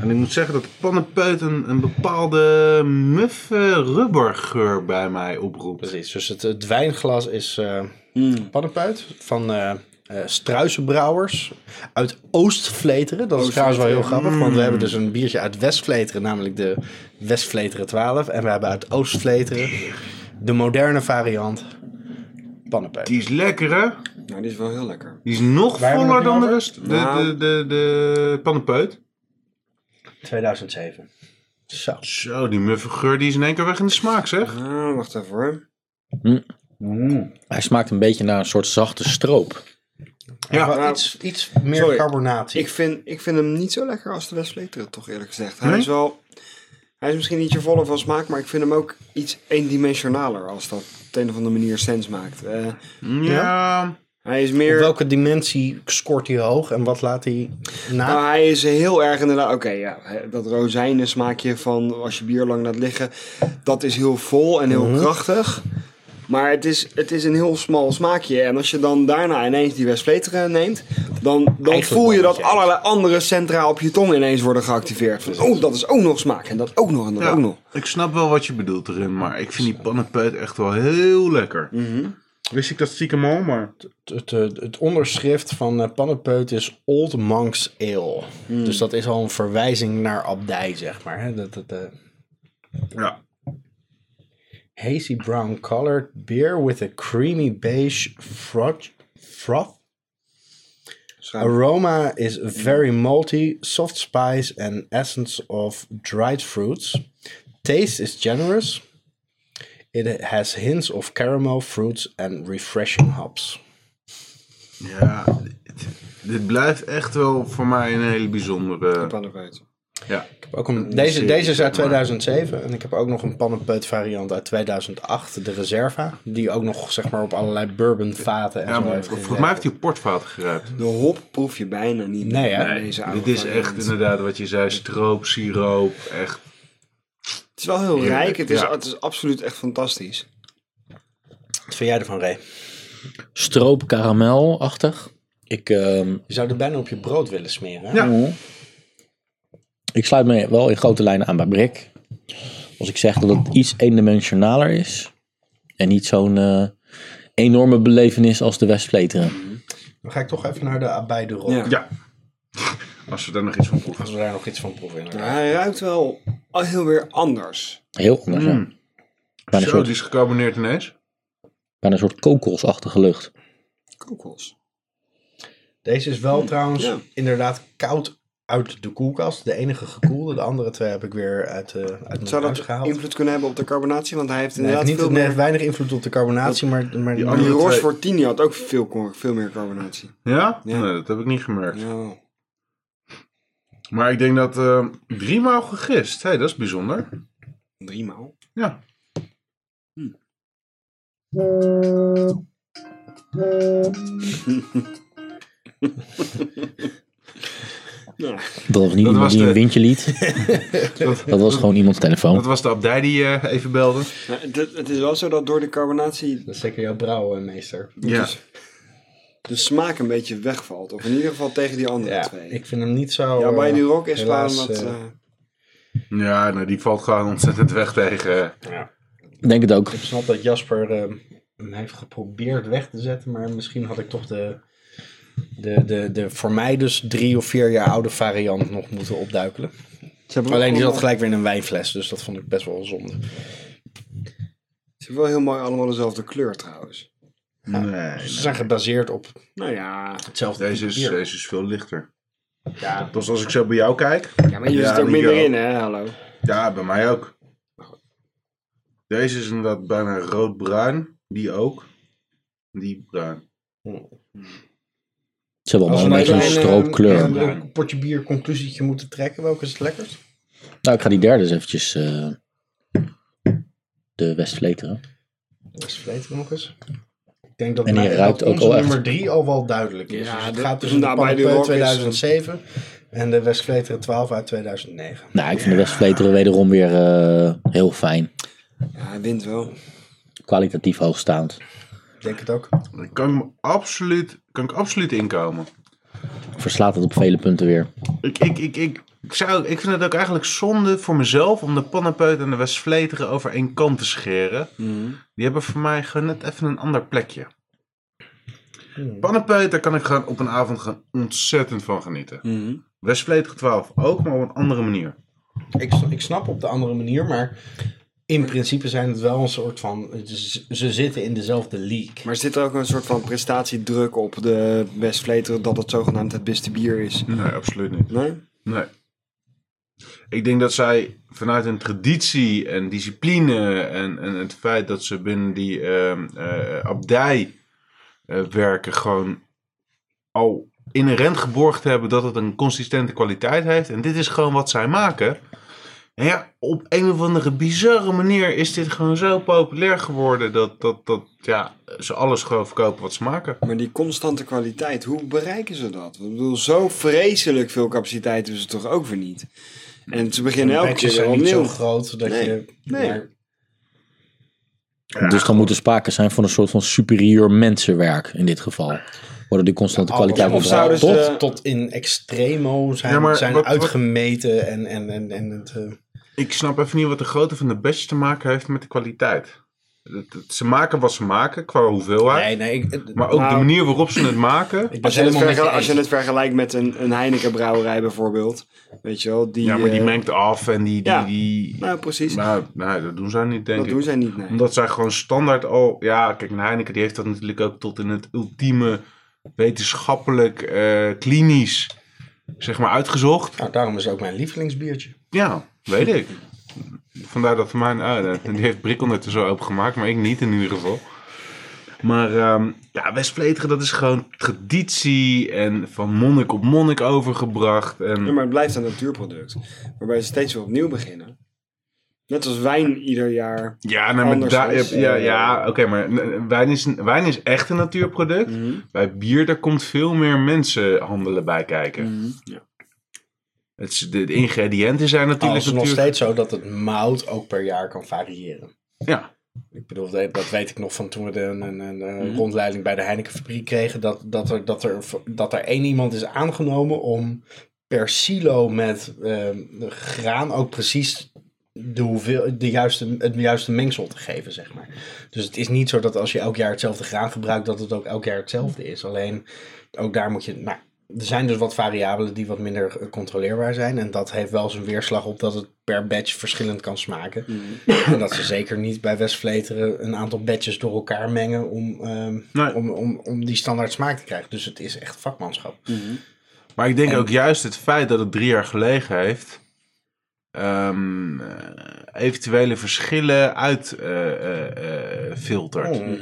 Speaker 3: En ik moet zeggen dat de pannenpeut een, een bepaalde muffe rubbergeur bij mij oproept.
Speaker 4: Precies, dus het, het wijnglas is eh pannenpuit van eh eh, Struisenbrouwers uit Oostvleteren. Dat is trouwens wel heel grappig, want we hebben dus een biertje uit Westvleteren, namelijk de Westvleteren 12. En we hebben uit Oostvleteren de moderne variant pannenpuit.
Speaker 3: Die is lekker, hè?
Speaker 2: Nou, die is wel heel lekker.
Speaker 3: Die is nog
Speaker 4: Waar hebben we
Speaker 3: voller dan
Speaker 4: het nu
Speaker 3: de
Speaker 4: over?
Speaker 3: rest. De,
Speaker 2: Nou.
Speaker 3: de, de, de pannenpeut.
Speaker 4: 2007. Zo.
Speaker 3: Zo, die muffe geur die is in één keer weg in de smaak, zeg.
Speaker 2: Ah, wacht even hoor.
Speaker 1: Hij smaakt een beetje naar een soort zachte stroop.
Speaker 4: Wel
Speaker 3: Ja,
Speaker 4: iets, iets meer
Speaker 2: Sorry.
Speaker 4: carbonatie.
Speaker 2: Ik vind, ik vind hem niet zo lekker als de Westfleteren, toch eerlijk gezegd. Hij
Speaker 3: Nee?
Speaker 2: is wel... Hij is misschien ietsje voller van smaak, maar ik vind hem ook iets eendimensionaler als dat op de een of andere manier sens maakt. Eh,
Speaker 3: ja.
Speaker 2: hij is meer...
Speaker 4: Op welke dimensie scoort hij hoog en wat laat hij na?
Speaker 2: Nou, hij is heel erg inderdaad. Oké, ja, hè, dat rozijnen smaakje van als je bier lang laat liggen, dat is heel vol en heel
Speaker 4: Mhm.
Speaker 2: krachtig. Maar het is, het is een heel smal smaakje. En als je dan daarna ineens die Westfleteren neemt, dan, dan
Speaker 4: Eigenlijk
Speaker 2: voel je
Speaker 4: wel
Speaker 2: dat
Speaker 4: met je eens.
Speaker 2: allerlei andere centra op je tong ineens worden geactiveerd. Van, oh, dat is ook nog smaak. En dat ook nog en dat ook
Speaker 3: Ja,
Speaker 2: nog.
Speaker 3: ik snap wel wat je bedoelt erin, maar ik vind die pannenpeut echt wel heel lekker.
Speaker 2: Mhm.
Speaker 3: Wist ik dat stiekem al, maar...
Speaker 4: het, het, het onderschrift van eh Pannenpeut is Old Monk's Ale. Dus dat is al een verwijzing naar abdij, zeg maar. Hè? Dat, dat, eh,
Speaker 3: Ja.
Speaker 4: hazy brown colored beer with a creamy beige froth. froth.
Speaker 2: Schuim.
Speaker 4: Aroma is very malty, soft spice and essence of dried fruits. Taste is generous. It has hints of caramel, fruits and refreshing hops.
Speaker 3: Ja, dit, dit blijft echt wel voor mij een hele bijzondere...
Speaker 2: Pannenpeut.
Speaker 3: Ja.
Speaker 4: Ik heb ook een, deze, deze is uit
Speaker 3: zeg maar.
Speaker 4: 2007 en ik heb ook nog een pannenpeut variant uit 2008, de Reserva. Die ook nog zeg maar op allerlei bourbonvaten en
Speaker 3: Ja,
Speaker 4: zo
Speaker 3: maar
Speaker 4: heeft
Speaker 3: volgens
Speaker 4: gezeten.
Speaker 3: mij heeft hij portvaten geruimd.
Speaker 2: De hop proef je bijna niet.
Speaker 4: Nee, hè?
Speaker 2: bij deze oude
Speaker 3: Dit is
Speaker 2: variant.
Speaker 3: echt inderdaad wat je zei, stroop, siroop, echt.
Speaker 2: Het is wel heel rijk. Het is,
Speaker 3: Ja.
Speaker 2: het is absoluut echt fantastisch.
Speaker 4: Wat vind jij ervan, Ray?
Speaker 1: Stroop karamelachtig. Ik, ehm,
Speaker 4: Je zou er bijna op je brood willen smeren. hè?
Speaker 3: Ja.
Speaker 1: ik sluit me wel in grote lijnen aan bij Brik. Als ik zeg dat het iets eendimensionaler is. En niet zo'n eh, enorme belevenis als de Westfleteren.
Speaker 4: Dan ga ik toch even naar de Abij de Rock.
Speaker 2: Ja.
Speaker 3: Ja. Als we daar nog iets van proeven.
Speaker 4: Als we daar nog iets van proeven.
Speaker 2: Maar
Speaker 4: inderdaad.
Speaker 2: hij ruikt wel al heel weer anders.
Speaker 1: Heel anders, ja.
Speaker 3: Mm.
Speaker 1: Bijna een
Speaker 3: Zo, dus-
Speaker 1: soort,
Speaker 3: die is gecarboneerd ineens.
Speaker 1: bijna een soort kokosachtige lucht.
Speaker 2: Kokos.
Speaker 4: Deze is wel trouwens
Speaker 2: ja.
Speaker 4: inderdaad koud uit de koelkast. De enige gekoelde, de andere twee heb ik weer uit, eh uit mijn
Speaker 2: Zou
Speaker 4: huis
Speaker 2: dat
Speaker 4: gehaald.
Speaker 2: invloed kunnen hebben op de carbonatie? Want hij heeft
Speaker 4: Nee,
Speaker 2: inderdaad
Speaker 4: niet,
Speaker 2: veel
Speaker 4: nee,
Speaker 2: meer...
Speaker 4: weinig invloed op de carbonatie, maar, maar
Speaker 3: Die
Speaker 4: maar-
Speaker 2: Die
Speaker 3: andere twee-
Speaker 2: Rochefort 10 had ook veel, cor- veel meer carbonatie.
Speaker 3: Ja?
Speaker 2: Ja.
Speaker 3: Nee, dat heb ik niet gemerkt.
Speaker 2: Ja.
Speaker 3: Maar ik denk dat eh, drie maal gegist. Hé, hey, dat is bijzonder.
Speaker 2: Drie maal.
Speaker 3: Ja.
Speaker 1: Dat was niet
Speaker 3: Dat
Speaker 1: iemand
Speaker 3: was
Speaker 1: die
Speaker 3: de-
Speaker 1: een windje liet.
Speaker 3: Dat,
Speaker 1: Dat was gewoon iemands telefoon.
Speaker 3: dat was de abdij die eh, even belde.
Speaker 2: Nou, het, het is wel zo dat door de carbonatie
Speaker 4: Dat is zeker jouw brouwmeester.
Speaker 3: Ja.
Speaker 2: de smaak een beetje wegvalt. Of in ieder geval tegen die andere
Speaker 4: Ja,
Speaker 2: twee.
Speaker 4: ik vind hem niet zo...
Speaker 2: ja, bij
Speaker 4: eh,
Speaker 2: die rock is
Speaker 4: helaas,
Speaker 2: gewoon wat...
Speaker 4: eh,
Speaker 2: eh,
Speaker 3: Ja, nou, die valt gewoon ontzettend weg tegen. eh,
Speaker 1: Denk het ook.
Speaker 4: Ik snap dat Jasper eh, hem heeft geprobeerd weg te zetten, maar misschien had ik toch de, de, de, de voor mij dus drie of vier jaar oude variant nog moeten opduikelen.
Speaker 2: Ze hebben
Speaker 4: Alleen die
Speaker 2: allemaal-
Speaker 4: zat gelijk weer in een wijnfles, dus dat vond ik best wel zonde.
Speaker 2: Ze hebben wel heel mooi allemaal dezelfde kleur trouwens.
Speaker 3: Nee.
Speaker 4: Ze zijn gebaseerd op
Speaker 2: Nou ja,
Speaker 4: hetzelfde
Speaker 3: Deze is, eh,
Speaker 4: bier.
Speaker 3: deze is veel lichter.
Speaker 2: ja.
Speaker 3: Dus als ik zo bij jou kijk.
Speaker 2: ja maar hier
Speaker 3: Ja,
Speaker 2: zit ook
Speaker 3: die
Speaker 2: minder
Speaker 3: wel.
Speaker 2: in, hè? Hallo.
Speaker 3: Ja, bij mij ook. Deze is inderdaad bijna roodbruin. Die ook. Die bruin.
Speaker 1: Ze hebben allemaal
Speaker 4: Als we
Speaker 1: een beetje een
Speaker 4: nou een,
Speaker 1: stroopkleur.
Speaker 4: eh, een potje bier conclusietje moeten trekken, welke is het lekkerst?
Speaker 1: Nou, ik ga die derde eens eventjes... eh, de Westvleteren.
Speaker 4: Dat vleet er nog eens. Ik denk dat,
Speaker 1: En die
Speaker 4: mij-
Speaker 1: ruikt
Speaker 4: dat
Speaker 1: ook
Speaker 4: onze
Speaker 1: al echt.
Speaker 4: nummer 3 al wel duidelijk is.
Speaker 2: Ja,
Speaker 4: dus het
Speaker 2: de-
Speaker 4: gaat tussen de
Speaker 2: nou, bij de
Speaker 4: Panopé
Speaker 2: Rock is-
Speaker 4: 2007 en de Westvleteren 12 uit 2009.
Speaker 1: Nou, ik vind de Westvleteren wederom weer eh, heel fijn.
Speaker 2: Ja, hij wint wel.
Speaker 1: Kwalitatief hoogstaand.
Speaker 4: Ik denk het ook.
Speaker 3: Daar kan ik, me absoluut, kan ik absoluut inkomen.
Speaker 1: Verslaat het op vele punten weer.
Speaker 3: Ik, ik, ik, ik, ik, zou, ik vind het ook eigenlijk zonde voor mezelf om de Pannepeut en de Westvleteren over één kant te scheren. Die hebben voor mij gewoon net even een ander plekje. Pannepeut, daar kan ik gewoon op een avond gewoon ontzettend van genieten.
Speaker 2: Mhm.
Speaker 3: Westvleteren 12 ook, maar op een andere manier.
Speaker 4: Ik, s- ik snap op de andere manier, maar in principe zijn het wel een soort van... het is- Ze zitten in dezelfde league.
Speaker 2: Maar zit er ook een soort van prestatiedruk op de Westvleteren dat het zogenaamd het beste bier is?
Speaker 3: Nee, absoluut niet.
Speaker 2: Nee?
Speaker 3: Nee. Ik denk dat zij vanuit hun traditie en discipline en, en het feit dat ze binnen die ehm, eh, abdij eh, werken, gewoon al inherent geborgd hebben dat het een consistente kwaliteit heeft. En dit is gewoon wat zij maken. En ja, op een of andere bizarre manier is dit gewoon zo populair geworden dat, dat, dat ja, ze alles gewoon verkopen wat ze maken.
Speaker 2: Maar die constante kwaliteit, hoe bereiken ze dat? Ik bedoel, zo vreselijk veel capaciteit hebben ze toch ook weer niet? En ze beginnen elke keer
Speaker 4: Matches
Speaker 2: weer
Speaker 4: zijn niet zo
Speaker 2: opnieuw.
Speaker 4: groot dat
Speaker 2: Nee.
Speaker 4: je...
Speaker 2: Nee.
Speaker 4: maar-
Speaker 1: dus dan moet er sprake zijn van een soort van superieur mensenwerk in dit geval. Worden die constante kwaliteit
Speaker 2: of zouden
Speaker 1: bepaald?
Speaker 2: ze-
Speaker 1: Tot?
Speaker 4: tot, tot in extremo zijn,
Speaker 3: Ja, maar
Speaker 4: zijn
Speaker 3: wat- wat-
Speaker 4: uitgemeten en, en, en, en het... eh,
Speaker 3: Ik snap even niet wat de grootte van de badge te maken heeft met de kwaliteit. Het- het- Ze maken wat ze maken qua hoeveelheid.
Speaker 4: nee, nee, ik, het-
Speaker 3: maar ook
Speaker 2: nou-
Speaker 3: de manier waarop ze het maken.
Speaker 4: ik ben
Speaker 2: Als je, het
Speaker 4: helemaal met
Speaker 2: vergel-
Speaker 4: je
Speaker 2: als je
Speaker 4: eens.
Speaker 2: het vergelijkt met een, een Heineken brouwerij bijvoorbeeld. Weet je wel, die...
Speaker 3: ja, maar die
Speaker 2: eh,
Speaker 3: mengt af en die. die,
Speaker 2: ja.
Speaker 3: die
Speaker 2: Nou, precies.
Speaker 3: Maar nee, dat doen zij niet, denk
Speaker 2: dat
Speaker 3: ik.
Speaker 2: doen zij niet, nee.
Speaker 3: Omdat zij gewoon standaard al. Ja, kijk, een Heineken die heeft dat natuurlijk ook tot in het ultieme wetenschappelijk, eh, klinisch, zeg maar, uitgezocht.
Speaker 4: Nou, daarom is het ook mijn lievelingsbiertje.
Speaker 3: Ja, weet ik. Vandaar dat voor mij een uit. Die heeft Brikkel net er zo opengemaakt, maar ik niet in ieder geval. Maar ehm ja, Westvleteren, dat is gewoon traditie en van monnik op monnik overgebracht.
Speaker 2: Ja,
Speaker 3: En,
Speaker 2: maar het blijft een natuurproduct. Waarbij ze steeds weer opnieuw beginnen. Net als wijn ieder jaar.
Speaker 3: ja, nou, maar
Speaker 2: Anders
Speaker 3: daar-
Speaker 2: is,
Speaker 3: ja,
Speaker 2: eh,
Speaker 3: ja oké, maar eh, wijn is, wijn is echt een natuurproduct.
Speaker 2: Mhm.
Speaker 3: Bij bier, daar komt veel meer mensenhandelen bij kijken.
Speaker 2: Ja.
Speaker 3: Het, is- de, de ingrediënten zijn
Speaker 4: Al
Speaker 3: natuurlijk...
Speaker 4: is het nog
Speaker 3: natuur-
Speaker 4: steeds zo dat het mout ook per jaar kan variëren.
Speaker 3: Ja, Mhm.
Speaker 4: Ik bedoel, dat dat weet ik nog van toen we de, een, een, een, eh, rondleiding bij de Heinekenfabriek kregen. Dat, dat, er, dat, er, dat er één iemand is aangenomen om per silo met eh, graan ook precies de, hoeveel, de juiste, het juiste mengsel te geven, zeg maar. Dus het is niet zo dat als je elk jaar hetzelfde graan gebruikt, dat het ook elk jaar hetzelfde is. Alleen ook daar moet je. Nou, er zijn dus wat variabelen die wat minder eh, controleerbaar zijn. En dat heeft wel zijn weerslag op dat het per batch verschillend kan smaken. En dat ze zeker niet bij Westvleteren een aantal batches door elkaar mengen om, ehm,
Speaker 3: Nee.
Speaker 4: om, om, om die standaard smaak te krijgen. Dus het is echt vakmanschap.
Speaker 3: Maar ik denk ook juist het feit dat het drie jaar gelegen heeft. ehm, eh, eventuele verschillen eh, uitfiltert. eh,
Speaker 4: Mhm. Oh.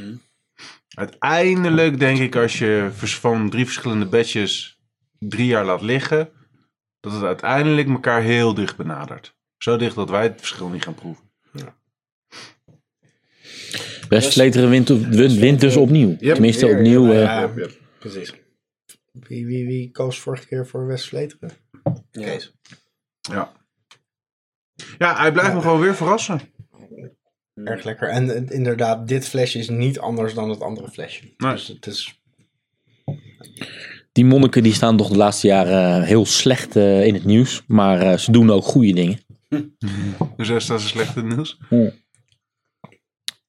Speaker 3: Uiteindelijk denk ik als je vers- van drie verschillende batches drie jaar laat liggen. Dat het uiteindelijk elkaar heel dicht benadert. Zo dicht dat wij het verschil niet gaan proeven.
Speaker 1: Westvleteren wint, wint, wint dus opnieuw. Tenminste opnieuw. eh,
Speaker 4: Ja, precies. Wie, wie, wie koos vorige keer voor Westvleteren? Kees.
Speaker 3: Ja, ja hij blijft me gewoon weer verrassen.
Speaker 4: Erg lekker. En eh, inderdaad, dit flesje is niet anders dan het andere flesje.
Speaker 3: Nee.
Speaker 4: Dus het is
Speaker 1: Die monniken die staan toch de laatste jaren eh, heel slecht eh, in het nieuws. Maar eh, ze doen ook goede dingen.
Speaker 3: Dus daar staat ze slechte nieuws.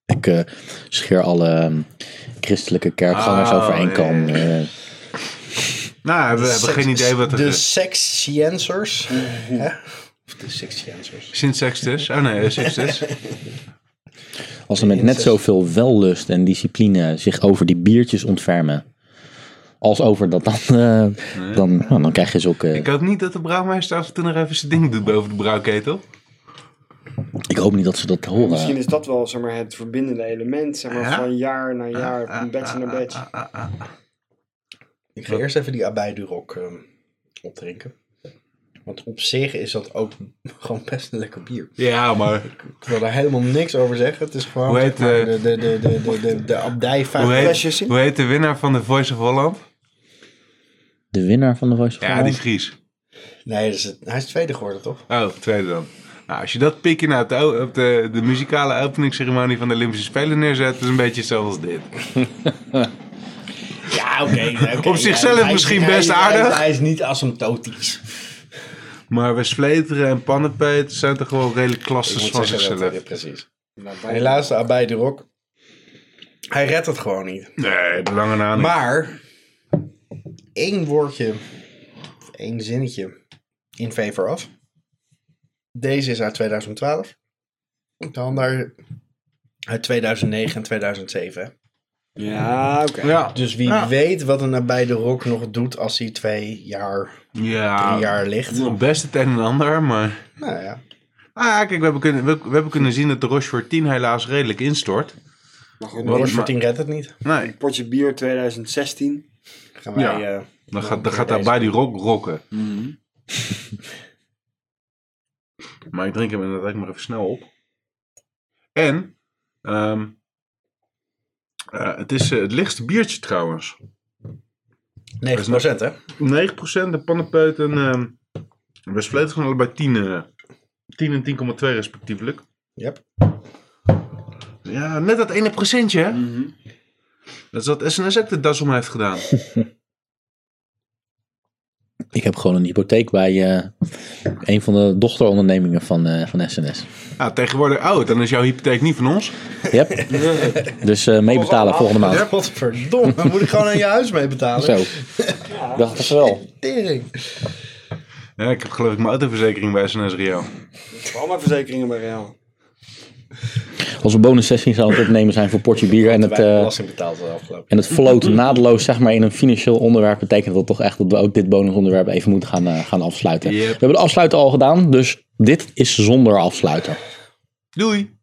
Speaker 1: Ik eh, scheer alle ehm, christelijke kerkgangers
Speaker 3: Oh,
Speaker 1: over één
Speaker 3: ja,
Speaker 1: kam.
Speaker 3: ja,
Speaker 1: eh.
Speaker 3: Nou, we hebben geen idee wat er
Speaker 4: De
Speaker 3: is.
Speaker 4: sexiensers. hè? Of de sexiensers.
Speaker 3: Sint Sextus. Oh nee, Sextus.
Speaker 1: als ze met net zoveel wellust en discipline zich over die biertjes ontfermen. Als over dat dan. eh, dan, nou, dan krijg je ze ook. eh,
Speaker 3: Ik hoop niet dat de brouwmeester af en toe nog even zijn ding doet boven de brouwketel.
Speaker 1: ik hoop niet dat ze dat horen.
Speaker 2: Misschien is dat wel zeg maar, het verbindende element. Zeg maar,
Speaker 3: Ja.
Speaker 2: Van jaar naar jaar, van badge naar badge.
Speaker 4: Ik ga eerst even die abijdurok ehm opdrinken. Want op zich is dat ook gewoon best een lekker bier.
Speaker 3: Ja, maar
Speaker 4: Ik wil daar helemaal niks over zeggen. Het is gewoon
Speaker 3: Hoe heet,
Speaker 4: zeg maar,
Speaker 3: eh,
Speaker 4: de, de, de, de, de, de, de abdij van
Speaker 3: hoe
Speaker 2: flesjes
Speaker 3: heet,
Speaker 2: zien?
Speaker 3: hoe heet de winnaar van de Voice of Holland?
Speaker 1: De winnaar van de Voice of
Speaker 3: Ja,
Speaker 1: Holland?
Speaker 3: die Fries.
Speaker 4: Nee, dat is het- hij is tweede geworden, toch?
Speaker 3: Oh, tweede dan. Nou, als je dat pikje nou op de, o- op de, de muzikale openingsceremonie van de Olympische Spelen neerzet, is het een beetje zoals dit.
Speaker 4: Ja, oké.
Speaker 3: Op zichzelf
Speaker 4: Hij is-
Speaker 3: misschien
Speaker 4: hij is-
Speaker 3: best
Speaker 4: hij is-
Speaker 3: aardig.
Speaker 4: Hij is niet asymptotisch.
Speaker 3: Maar we sleteren en pannenpeet zijn toch wel redelijk
Speaker 4: Ik
Speaker 3: klasses
Speaker 4: moet
Speaker 3: van
Speaker 4: zeggen dat-
Speaker 3: zichzelf.
Speaker 4: ja, precies. Helaas, de abijderok. Hij redt het gewoon niet.
Speaker 3: Nee, de lange naam.
Speaker 4: Maar één woordje, of één zinnetje in favor af. Deze is uit 2012. De ander uit 2009 en 2007.
Speaker 2: Ja, oké.
Speaker 3: Ja,
Speaker 4: Dus wie
Speaker 3: Ja.
Speaker 4: weet wat een nabij de rok nog doet als hij twee jaar, drie
Speaker 3: Nou. ja
Speaker 4: jaar ligt.
Speaker 3: best het een en ander, maar...
Speaker 4: Nou ja.
Speaker 3: Ah, ja, kijk, we hebben, kunnen, we, we hebben kunnen zien dat de Rochefort 10 helaas redelijk instort.
Speaker 2: Maar goed,
Speaker 3: Wat-
Speaker 2: een
Speaker 4: Boris redt het niet.
Speaker 3: Nee,
Speaker 2: potje bier 2016.
Speaker 4: Gaan wij,
Speaker 3: Ja.
Speaker 4: eh,
Speaker 3: dan gaat, dan gaat daar bij die rock rocken. maar ik drink hem inderdaad maar even snel op. En, ehm, eh, het is eh, het lichtste biertje trouwens.
Speaker 4: 9% hè?
Speaker 3: 9% de pannenpeuten. ehm we spleten van allebei 10, eh, 10 en 10,2 respectievelijk.
Speaker 4: Yep.
Speaker 3: Ja, net dat ene procentje. hè? Mhm. Dat is wat SNS ook de das om heeft gedaan.
Speaker 1: Ik heb gewoon een hypotheek bij eh, een van de dochterondernemingen van, eh, van SNS.
Speaker 3: Nou, tegenwoordig, oh, dan is jouw hypotheek niet van ons.
Speaker 1: Yep. dus eh, meebetalen volgende maand.
Speaker 4: Godverdomme, moet ik gewoon aan je huis mee betalen?
Speaker 1: Zo. Dacht het wel.
Speaker 4: Tering.
Speaker 3: Ja, ik heb geloof ik mijn autoverzekering bij SNS Rio.
Speaker 2: Allemaal verzekeringen bij Real.
Speaker 1: Als we bonussessie zouden het opnemen zijn voor potje bier en het,
Speaker 4: Wij
Speaker 1: eh,
Speaker 4: belasting betaald de afgelopen.
Speaker 1: en het float naadloos zeg maar, in een financieel onderwerp, betekent dat toch echt dat we ook dit bonusonderwerp even moeten gaan, eh, gaan afsluiten.
Speaker 3: Yep.
Speaker 1: We hebben de afsluiten al gedaan, dus dit is zonder afsluiten.
Speaker 3: Doei!